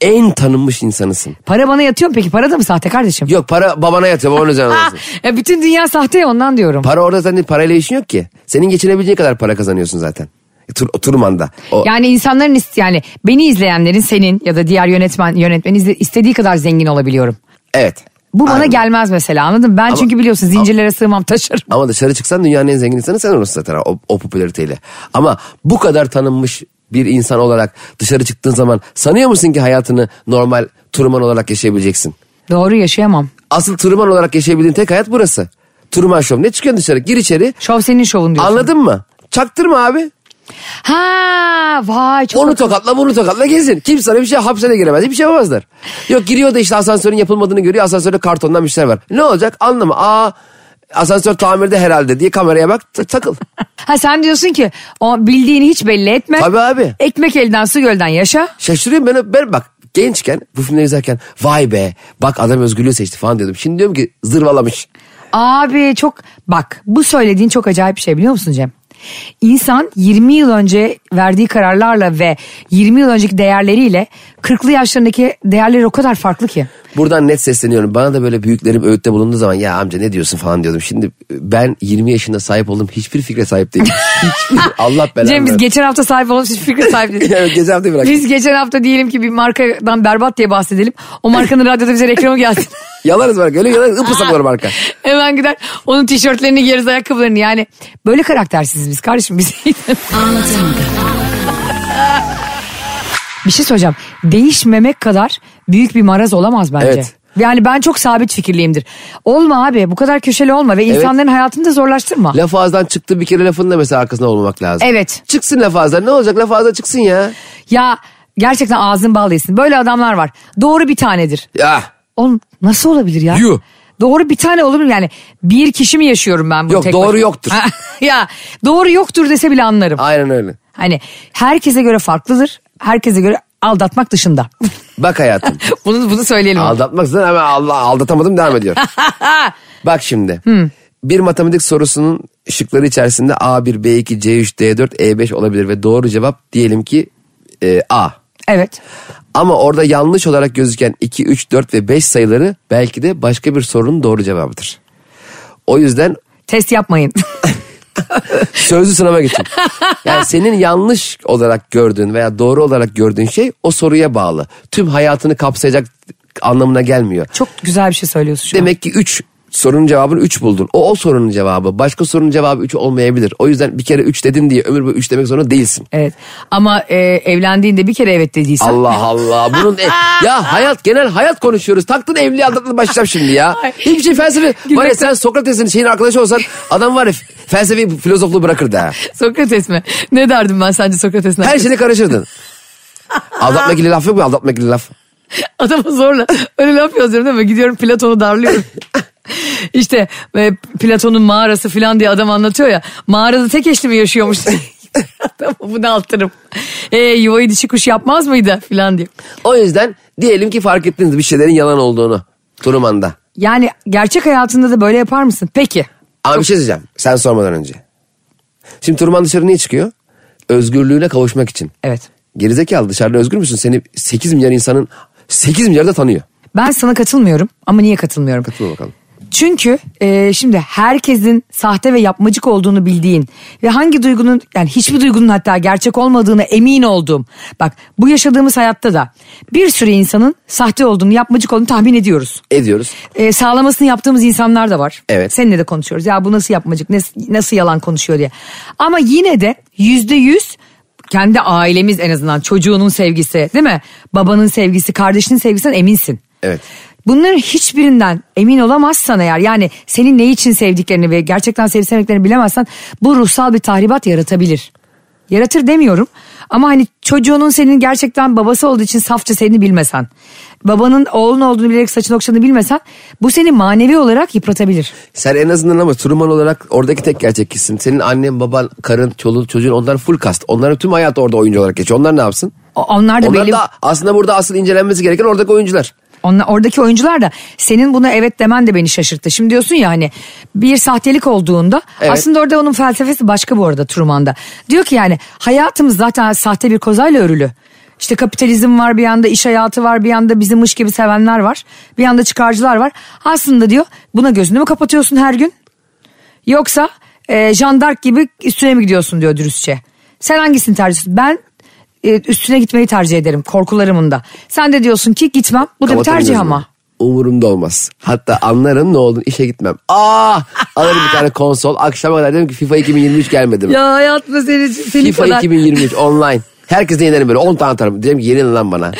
[SPEAKER 3] en tanınmış insanısın.
[SPEAKER 2] Para bana yatıyor mu peki? Para da mı sahte kardeşim?
[SPEAKER 3] Yok para babana yatıyor
[SPEAKER 2] <laughs>
[SPEAKER 3] babanın üzerine
[SPEAKER 2] Ah,
[SPEAKER 3] alıyorsun.
[SPEAKER 2] ya bütün dünya sahte ya ondan diyorum.
[SPEAKER 3] Para orada senin parayla işin yok ki. Senin geçinebileceğin kadar para kazanıyorsun zaten. E, Tur, Turman'da. O,
[SPEAKER 2] Yani insanların ist- yani beni izleyenlerin senin ya da diğer yönetmen yönetmenin izle- istediği kadar zengin olabiliyorum.
[SPEAKER 3] evet.
[SPEAKER 2] Bu bana
[SPEAKER 3] Aynen.
[SPEAKER 2] gelmez mesela anladın mı? Ben çünkü biliyorsun zincirlere sığmam taşırım. <laughs>
[SPEAKER 3] Ama dışarı çıksan dünyanın en zengin insanı sen olursun zaten o, o popülariteyle. Ama bu kadar tanınmış bir insan olarak dışarı çıktığın zaman sanıyor musun ki hayatını normal turman olarak yaşayabileceksin?
[SPEAKER 2] Doğru yaşayamam.
[SPEAKER 3] Asıl turman olarak yaşayabildiğin tek hayat burası. Turman şov. Ne çıkıyorsun dışarı? Gir içeri.
[SPEAKER 2] Şov senin şovun diyorsun.
[SPEAKER 3] Anladın mı? Çaktırma abi.
[SPEAKER 2] Ha vay çok
[SPEAKER 3] Onu tokatla bunu tokatla gezin. Kim sana bir şey hapishaneye giremez. Bir şey yapamazlar. Yok giriyor da işte asansörün yapılmadığını görüyor. Asansörde kartondan bir şeyler var. Ne olacak? Anlama. Aa asansör tamirde herhalde diye kameraya bak ta- takıl.
[SPEAKER 2] Ha sen diyorsun ki o bildiğini hiç belli etme.
[SPEAKER 3] Tabii abi.
[SPEAKER 2] Ekmek elden su gölden yaşa.
[SPEAKER 3] Şaşırıyorum ben, ben bak gençken bu filmleri izlerken vay be bak adam özgürlüğü seçti falan diyordum. Şimdi diyorum ki zırvalamış.
[SPEAKER 2] Abi çok bak bu söylediğin çok acayip bir şey biliyor musun Cem? İnsan 20 yıl önce verdiği kararlarla ve 20 yıl önceki değerleriyle 40'lı yaşlarındaki değerleri o kadar farklı ki.
[SPEAKER 3] Buradan net sesleniyorum. Bana da böyle büyüklerim öğütte bulunduğu zaman ya amca ne diyorsun falan diyordum. Şimdi e, ben 20 yaşında sahip olduğum hiçbir fikre
[SPEAKER 2] <laughs>
[SPEAKER 3] sahip değilim. Hiçbir- Allah belanı
[SPEAKER 2] Cem biz
[SPEAKER 3] versin.
[SPEAKER 2] geçen hafta sahip olmuş hiçbir fikre
[SPEAKER 3] <laughs>
[SPEAKER 2] sahip değiliz.
[SPEAKER 3] Evet, geçen hafta bırak.
[SPEAKER 2] Biz geçen hafta diyelim ki bir markadan berbat diye bahsedelim. O markanın radyoda bize reklamı
[SPEAKER 3] <laughs>
[SPEAKER 2] gelsin.
[SPEAKER 3] Yalarız bak öyle yalarız ıpırsak arka.
[SPEAKER 2] Hemen gider onun tişörtlerini giyeriz ayakkabılarını yani. Böyle karaktersiziz biz kardeşim biz. <laughs> bir şey söyleyeceğim. Değişmemek kadar büyük bir maraz olamaz bence.
[SPEAKER 3] Evet.
[SPEAKER 2] Yani ben çok sabit fikirliyimdir. Olma abi bu kadar köşeli olma ve insanların hayatını da zorlaştırma.
[SPEAKER 3] Laf ağızdan çıktı bir kere lafın da mesela arkasında olmamak lazım.
[SPEAKER 2] Evet.
[SPEAKER 3] Çıksın laf ağızdan ne olacak laf ağızdan çıksın ya.
[SPEAKER 2] Ya gerçekten ağzın bal yesin. Böyle adamlar var. Doğru bir tanedir.
[SPEAKER 3] Ya
[SPEAKER 2] Oğlum nasıl olabilir ya?
[SPEAKER 3] Yuh.
[SPEAKER 2] Doğru bir tane olur mu yani? Bir kişi mi yaşıyorum ben bunu
[SPEAKER 3] Yok,
[SPEAKER 2] tek
[SPEAKER 3] doğru
[SPEAKER 2] başıma?
[SPEAKER 3] yoktur.
[SPEAKER 2] <laughs> ya doğru yoktur dese bile anlarım.
[SPEAKER 3] aynen öyle.
[SPEAKER 2] Hani herkese göre farklıdır. Herkese göre aldatmak dışında. <laughs>
[SPEAKER 3] Bak hayatım
[SPEAKER 2] bunu bunu söyleyelim.
[SPEAKER 3] aldatmak zaten ama Allah aldatamadım devam ediyor. Bak şimdi. Bir matematik sorusunun şıkları içerisinde A1, B2, C3, D4, E5 E olabilir ve doğru cevap diyelim ki e, A.
[SPEAKER 2] <laughs> evet.
[SPEAKER 3] Ama orada yanlış olarak gözüken 2, 3, 4 ve 5 sayıları belki de başka bir sorunun doğru cevabıdır. O yüzden
[SPEAKER 2] Test yapmayın. <laughs>
[SPEAKER 3] sözlü sınava geçin. Yani senin yanlış olarak gördüğün veya doğru olarak gördüğün şey o soruya bağlı. Tüm hayatını kapsayacak anlamına gelmiyor.
[SPEAKER 2] Çok güzel bir şey söylüyorsun şu an.
[SPEAKER 3] Demek ki 3 sorunun cevabını 3 buldun. O o sorunun cevabı. Başka sorunun cevabı 3 olmayabilir. O yüzden bir kere 3 dedim diye ömür boyu 3 demek zorunda değilsin.
[SPEAKER 2] Evet. Ama e, evlendiğinde bir kere evet dediysen. <laughs>
[SPEAKER 3] Allah Allah. Bunun e- ya hayat genel hayat konuşuyoruz. Taktın evliliğe aldatmaya başlayacağım şimdi ya.
[SPEAKER 2] Ay.
[SPEAKER 3] Hiçbir şey felsefe. Var ya
[SPEAKER 2] Gülmekten-
[SPEAKER 3] sen Sokrates'in şeyin arkadaşı olsan adam var ya felsefeyi filozofluğu bırakırdı ha.
[SPEAKER 2] Sokrates mi? Ne derdim ben sence Sokrates'in?
[SPEAKER 3] Her
[SPEAKER 2] arkasında?
[SPEAKER 3] şeyle karışırdın. Aldatmak gibi laf yok mu? Aldatmak gibi laf.
[SPEAKER 2] Adama zorla öyle laf yazıyorum değil mi? Gidiyorum Platon'u <laughs> darlıyorum. işte e, Platon'un mağarası falan diye adam anlatıyor ya. Mağarada tek eşli mi <laughs> yaşıyormuş? tamam bunu altırım. E, yuvayı dişi kuş yapmaz mıydı falan diye.
[SPEAKER 3] O yüzden diyelim ki fark ettiniz bir şeylerin yalan olduğunu. Turumanda.
[SPEAKER 2] Yani gerçek hayatında da böyle yapar mısın? Peki.
[SPEAKER 3] Ama bir şey söyleyeceğim. Sen sormadan önce. Şimdi Turman dışarı niye çıkıyor? Özgürlüğüne kavuşmak için.
[SPEAKER 2] Evet.
[SPEAKER 3] Gerizekalı dışarıda özgür müsün? Seni 8 milyar insanın 8 milyar da tanıyor.
[SPEAKER 2] Ben sana katılmıyorum ama niye katılmıyorum?
[SPEAKER 3] Dur bakalım.
[SPEAKER 2] Çünkü e, şimdi herkesin sahte ve yapmacık olduğunu bildiğin ve hangi duygunun yani hiçbir duygunun hatta gerçek olmadığına emin olduğum. Bak bu yaşadığımız hayatta da bir sürü insanın sahte olduğunu yapmacık olduğunu tahmin ediyoruz.
[SPEAKER 3] Ediyoruz.
[SPEAKER 2] E, sağlamasını yaptığımız insanlar da var.
[SPEAKER 3] Evet.
[SPEAKER 2] Seninle de konuşuyoruz ya bu nasıl yapmacık nes- nasıl yalan konuşuyor diye. Ama yine de yüzde yüz kendi ailemiz en azından çocuğunun sevgisi değil mi? Babanın sevgisi kardeşinin sevgisinden eminsin.
[SPEAKER 3] Evet.
[SPEAKER 2] Bunların hiçbirinden emin olamazsan eğer yani senin ne için sevdiklerini ve gerçekten sevip sevmediklerini bilemezsen bu ruhsal bir tahribat yaratabilir. Yaratır demiyorum ama hani çocuğunun senin gerçekten babası olduğu için safça seni bilmesen, babanın oğlun olduğunu bilerek saçını okşadığını bilmesen bu seni manevi olarak yıpratabilir.
[SPEAKER 3] Sen en azından ama Turman olarak oradaki tek gerçek kişisin. Senin annen, baban, karın, çoluğun, çocuğun onlar full kast. Onların tüm hayatı orada oyuncu olarak geçiyor. Onlar ne yapsın?
[SPEAKER 2] O- Onlar da
[SPEAKER 3] Onlar
[SPEAKER 2] belli.
[SPEAKER 3] da aslında burada asıl incelenmesi gereken oradaki oyuncular.
[SPEAKER 2] Onlar, oradaki oyuncular da senin buna evet demen de beni şaşırttı. Şimdi diyorsun ya hani bir sahtelik olduğunda
[SPEAKER 3] Evet.
[SPEAKER 2] aslında orada onun felsefesi başka bu arada Truman'da. Diyor ki yani hayatımız zaten sahte bir kozayla örülü. İşte kapitalizm var bir yanda iş hayatı var bir yanda bizim mış gibi sevenler var. Bir yanda çıkarcılar var. Aslında diyor buna gözünü mü kapatıyorsun her gün? Yoksa e, Jean d'Arc gibi üstüne mi gidiyorsun diyor dürüstçe. Sen hangisini tercih ediyorsun? Ben e, üstüne gitmeyi tercih ederim korkularımın da. Sen de diyorsun ki gitmem. Bu da bir
[SPEAKER 3] Kapatırım
[SPEAKER 2] tercih
[SPEAKER 3] gözümü.
[SPEAKER 2] ama.
[SPEAKER 3] Umurumda olmaz. Hatta anlarım ne olduğunu işe gitmem. Aa! Alırım bir tane konsol. Akşama kadar dedim ki FIFA 2023 gelmedi mi?
[SPEAKER 2] Ya hayatımda seni, seni
[SPEAKER 3] FIFA 2023 online. Herkese yenerim böyle 10 tane atarım. Dedim ki yenilin lan bana.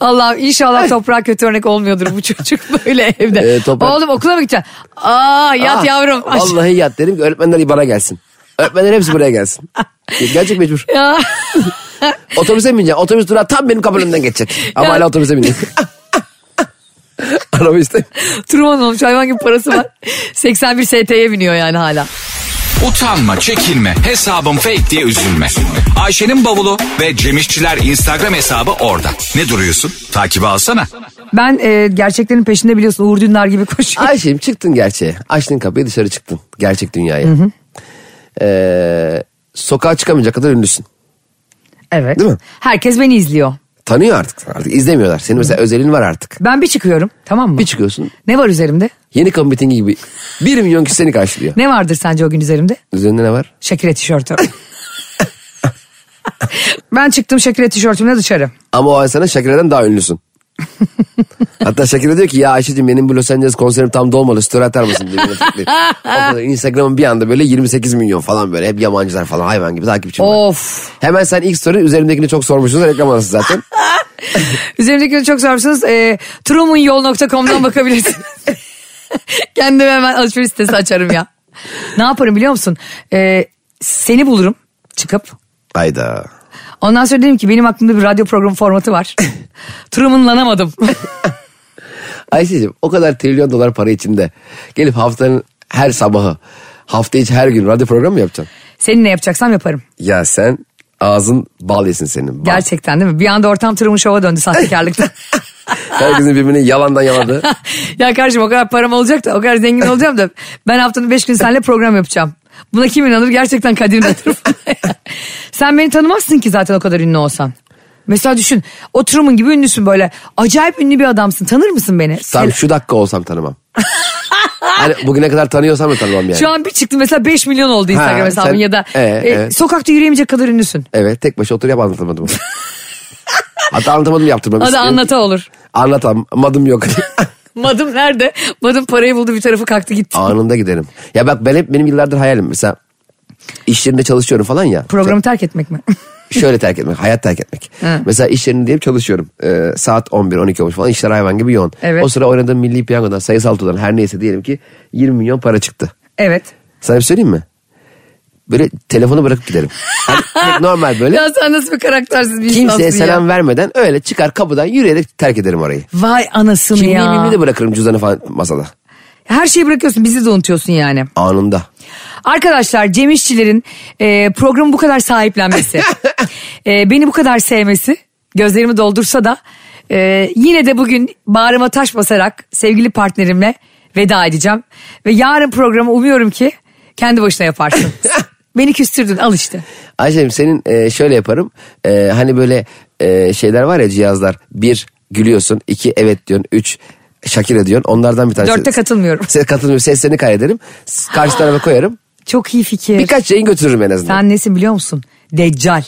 [SPEAKER 2] Allah'ım inşallah toprağa kötü örnek olmuyordur bu çocuk <laughs> böyle evde.
[SPEAKER 3] Ee, toprak-
[SPEAKER 2] Oğlum okula mı gideceksin? Aa yat
[SPEAKER 3] Ah,
[SPEAKER 2] yavrum. Ay,
[SPEAKER 3] Vallahi yat dedim ki öğretmenler bana gelsin. Öğretmenler hepsi
[SPEAKER 2] <laughs>
[SPEAKER 3] buraya gelsin. Gerçek mecbur.
[SPEAKER 2] <laughs> Ya.
[SPEAKER 3] Otobüse bineceğim. Otobüs durağı tam benim kapının önünden geçecek. Ama
[SPEAKER 2] Ya.
[SPEAKER 3] hala otobüse <laughs> binecek. Araba işte.
[SPEAKER 2] Truman olmuş hayvan gibi parası
[SPEAKER 3] <laughs>
[SPEAKER 2] var. 81 ST'ye biniyor yani hala.
[SPEAKER 1] Utanma, çekinme, hesabım fake diye üzülme. Ayşe'nin bavulu ve Cemişçiler Instagram hesabı orada. Ne duruyorsun? Takibi alsana.
[SPEAKER 2] Ben e, gerçeklerin peşinde biliyorsun Uğur Dündar gibi
[SPEAKER 3] <laughs>
[SPEAKER 2] koşuyor.
[SPEAKER 3] Ayşe'm çıktın gerçeğe. Açtın kapıyı dışarı çıktın. Gerçek dünyaya. Ee, sokağa çıkamayacak kadar ünlüsün.
[SPEAKER 2] Evet.
[SPEAKER 3] Değil mi?
[SPEAKER 2] Herkes beni izliyor.
[SPEAKER 3] tanıyor artık. Artık izlemiyorlar. Senin mesela özelin var artık.
[SPEAKER 2] Ben bir çıkıyorum tamam mı?
[SPEAKER 3] Bir çıkıyorsun.
[SPEAKER 2] Ne var üzerimde?
[SPEAKER 3] Yeni kamu mitingi gibi. Bir milyon kişi seni karşılıyor.
[SPEAKER 2] Ne vardır sence o gün üzerimde?
[SPEAKER 3] Üzerinde ne var?
[SPEAKER 2] Şakire
[SPEAKER 3] <laughs>
[SPEAKER 2] tişörtü. ben çıktım Şakire tişörtümle dışarı.
[SPEAKER 3] Ama o ay sana Şakire'den daha ünlüsün. Hatta Şakire diyor ki ya Ayşe'cim benim bu Los Angeles konserim tam dolmalı story atar mısın diye. beni teklif. o kadar Instagram'ın bir anda böyle 28 milyon falan böyle hep yabancılar falan hayvan gibi takipçim
[SPEAKER 2] Oh.
[SPEAKER 3] var.
[SPEAKER 2] Of.
[SPEAKER 3] Hemen sen ilk story üzerimdekini çok sormuşsun reklam arası zaten.
[SPEAKER 2] Üzerimdekini çok sorarsanız e, trumanyol.com'dan bakabilirsiniz. Kendime hemen alışveriş sitesi açarım ya. Ne yaparım biliyor musun? E, seni bulurum çıkıp.
[SPEAKER 3] Hayda.
[SPEAKER 2] Ondan sonra dedim ki benim aklımda bir radyo programı formatı var. Trumanlanamadım.
[SPEAKER 3] Ayşe'cim o kadar trilyon dolar para içinde gelip haftanın her sabahı hafta içi her gün radyo programı mı yapacaksın?
[SPEAKER 2] Senin ne yapacaksam yaparım.
[SPEAKER 3] Ya sen ağzın bal yesin senin. Bal.
[SPEAKER 2] Gerçekten değil mi? Bir anda ortam Truman Show'a döndü sahtekarlıkta.
[SPEAKER 3] Herkesin birbirini yalandan yaladı.
[SPEAKER 2] <laughs> ya kardeşim o kadar param olacak da o kadar zengin
[SPEAKER 3] <laughs>
[SPEAKER 2] olacağım da ben haftanın beş günü seninle program yapacağım. Buna kim inanır gerçekten Kadir inanır.
[SPEAKER 3] <laughs>
[SPEAKER 2] Sen beni tanımazsın ki zaten o kadar ünlü olsan. Mesela düşün o Truman gibi ünlüsün böyle. Acayip ünlü bir adamsın tanır mısın beni?
[SPEAKER 3] Tam şu dakika
[SPEAKER 2] <laughs>
[SPEAKER 3] olsam tanımam. hani bugüne kadar tanıyorsam da tanımam yani.
[SPEAKER 2] Şu an bir çıktı mesela 5 milyon oldu Instagram
[SPEAKER 3] Ha,
[SPEAKER 2] hesabın
[SPEAKER 3] sen-
[SPEAKER 2] ya da
[SPEAKER 3] Ee,
[SPEAKER 2] e,
[SPEAKER 3] evet.
[SPEAKER 2] sokakta yürüyemeyecek kadar ünlüsün.
[SPEAKER 3] Evet tek başına
[SPEAKER 2] <laughs>
[SPEAKER 3] oturup anlatamadım. Hatta anlatamadım yaptırmam.
[SPEAKER 2] Adı anlata olur. <laughs>
[SPEAKER 3] Anlatamadım yok.
[SPEAKER 2] Madım nerede? Madım parayı buldu bir tarafı kalktı gitti.
[SPEAKER 3] Anında giderim. Ya bak ben hep benim yıllardır hayalim mesela iş yerinde çalışıyorum falan ya.
[SPEAKER 2] Programı terk etmek mi? <laughs>
[SPEAKER 3] Şöyle terk etmek, hayat terk etmek.
[SPEAKER 2] Hı.
[SPEAKER 3] Mesela iş yerinde diyelim çalışıyorum. Ee, saat 11-12 olmuş falan işler hayvan gibi yoğun.
[SPEAKER 2] Evet.
[SPEAKER 3] O sıra oynadığım milli piyangodan sayısal tutan her neyse diyelim ki 20 milyon para çıktı.
[SPEAKER 2] evet.
[SPEAKER 3] Sana bir şey söyleyeyim mi? Böyle telefonu bırakıp giderim.
[SPEAKER 2] <laughs>
[SPEAKER 3] Hani tek normal böyle.
[SPEAKER 2] Ya sen nasıl bir karaktersiz bir insansın
[SPEAKER 3] Kimseye
[SPEAKER 2] ya.
[SPEAKER 3] selam vermeden öyle çıkar kapıdan yürüyerek terk ederim orayı.
[SPEAKER 2] Vay anasını
[SPEAKER 3] Kimliğimi
[SPEAKER 2] ya.
[SPEAKER 3] mimliğimi de bırakırım cüzdanı falan masada.
[SPEAKER 2] Her şeyi bırakıyorsun bizi de unutuyorsun yani.
[SPEAKER 3] Anında.
[SPEAKER 2] Arkadaşlar Cem İşçilerin e, programı bu kadar
[SPEAKER 3] <laughs>
[SPEAKER 2] sahiplenmesi, e, beni bu kadar sevmesi, gözlerimi doldursa da e, yine de bugün bağrıma taş basarak sevgili partnerimle veda edeceğim. Ve yarın programı umuyorum ki kendi başına
[SPEAKER 3] <laughs>
[SPEAKER 2] yaparsın. beni küstürdün al işte.
[SPEAKER 3] Ayşe'cim senin e, şöyle yaparım. E, hani böyle e, şeyler var ya cihazlar. Bir gülüyorsun. iki evet diyorsun. Üç Şakira diyorsun. Onlardan bir tanesi.
[SPEAKER 2] Dörtte katılmıyorum.
[SPEAKER 3] Se, katılmıyorum. Seslerini kaydederim. S- Karşı tarafa koyarım.
[SPEAKER 2] Çok iyi fikir.
[SPEAKER 3] Birkaç yayın götürürüm en azından.
[SPEAKER 2] Sen nesin biliyor musun? Deccal.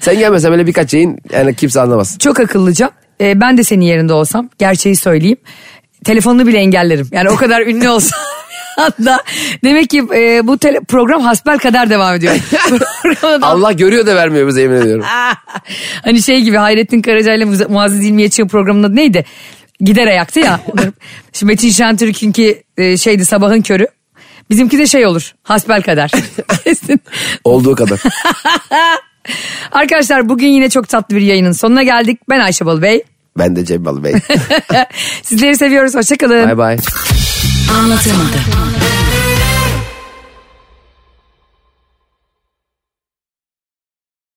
[SPEAKER 3] Sen gelmesen böyle birkaç yayın yani kimse anlamaz.
[SPEAKER 2] Çok akıllıca. Ee, ben de senin yerinde olsam gerçeği söyleyeyim. Telefonunu bile engellerim. Yani o kadar ünlü olsam. <laughs> Hatta demek ki e, bu tele- program hasbel kadar devam ediyor. Programda-
[SPEAKER 3] Allah görüyor da vermiyor bize yemin ediyorum.
[SPEAKER 2] <laughs> hani şey gibi Hayrettin Karaca ile Muza- Muazzez İlmiye Çığ programının adı neydi? Gider ayaktı ya. Şimdi Metin Şentürk'ünki e, şeydi sabahın körü. Bizimki de şey olur. Hasbel kadar. Kesin.
[SPEAKER 3] Olduğu kadar.
[SPEAKER 2] Arkadaşlar bugün yine çok tatlı bir yayının sonuna geldik. Ben Ayşe Balıbey. <laughs>
[SPEAKER 3] Ben de Cem Balı Bey.
[SPEAKER 2] Sizleri seviyoruz. Hoşçakalın.
[SPEAKER 3] Bay bay.
[SPEAKER 4] Anlatamadım.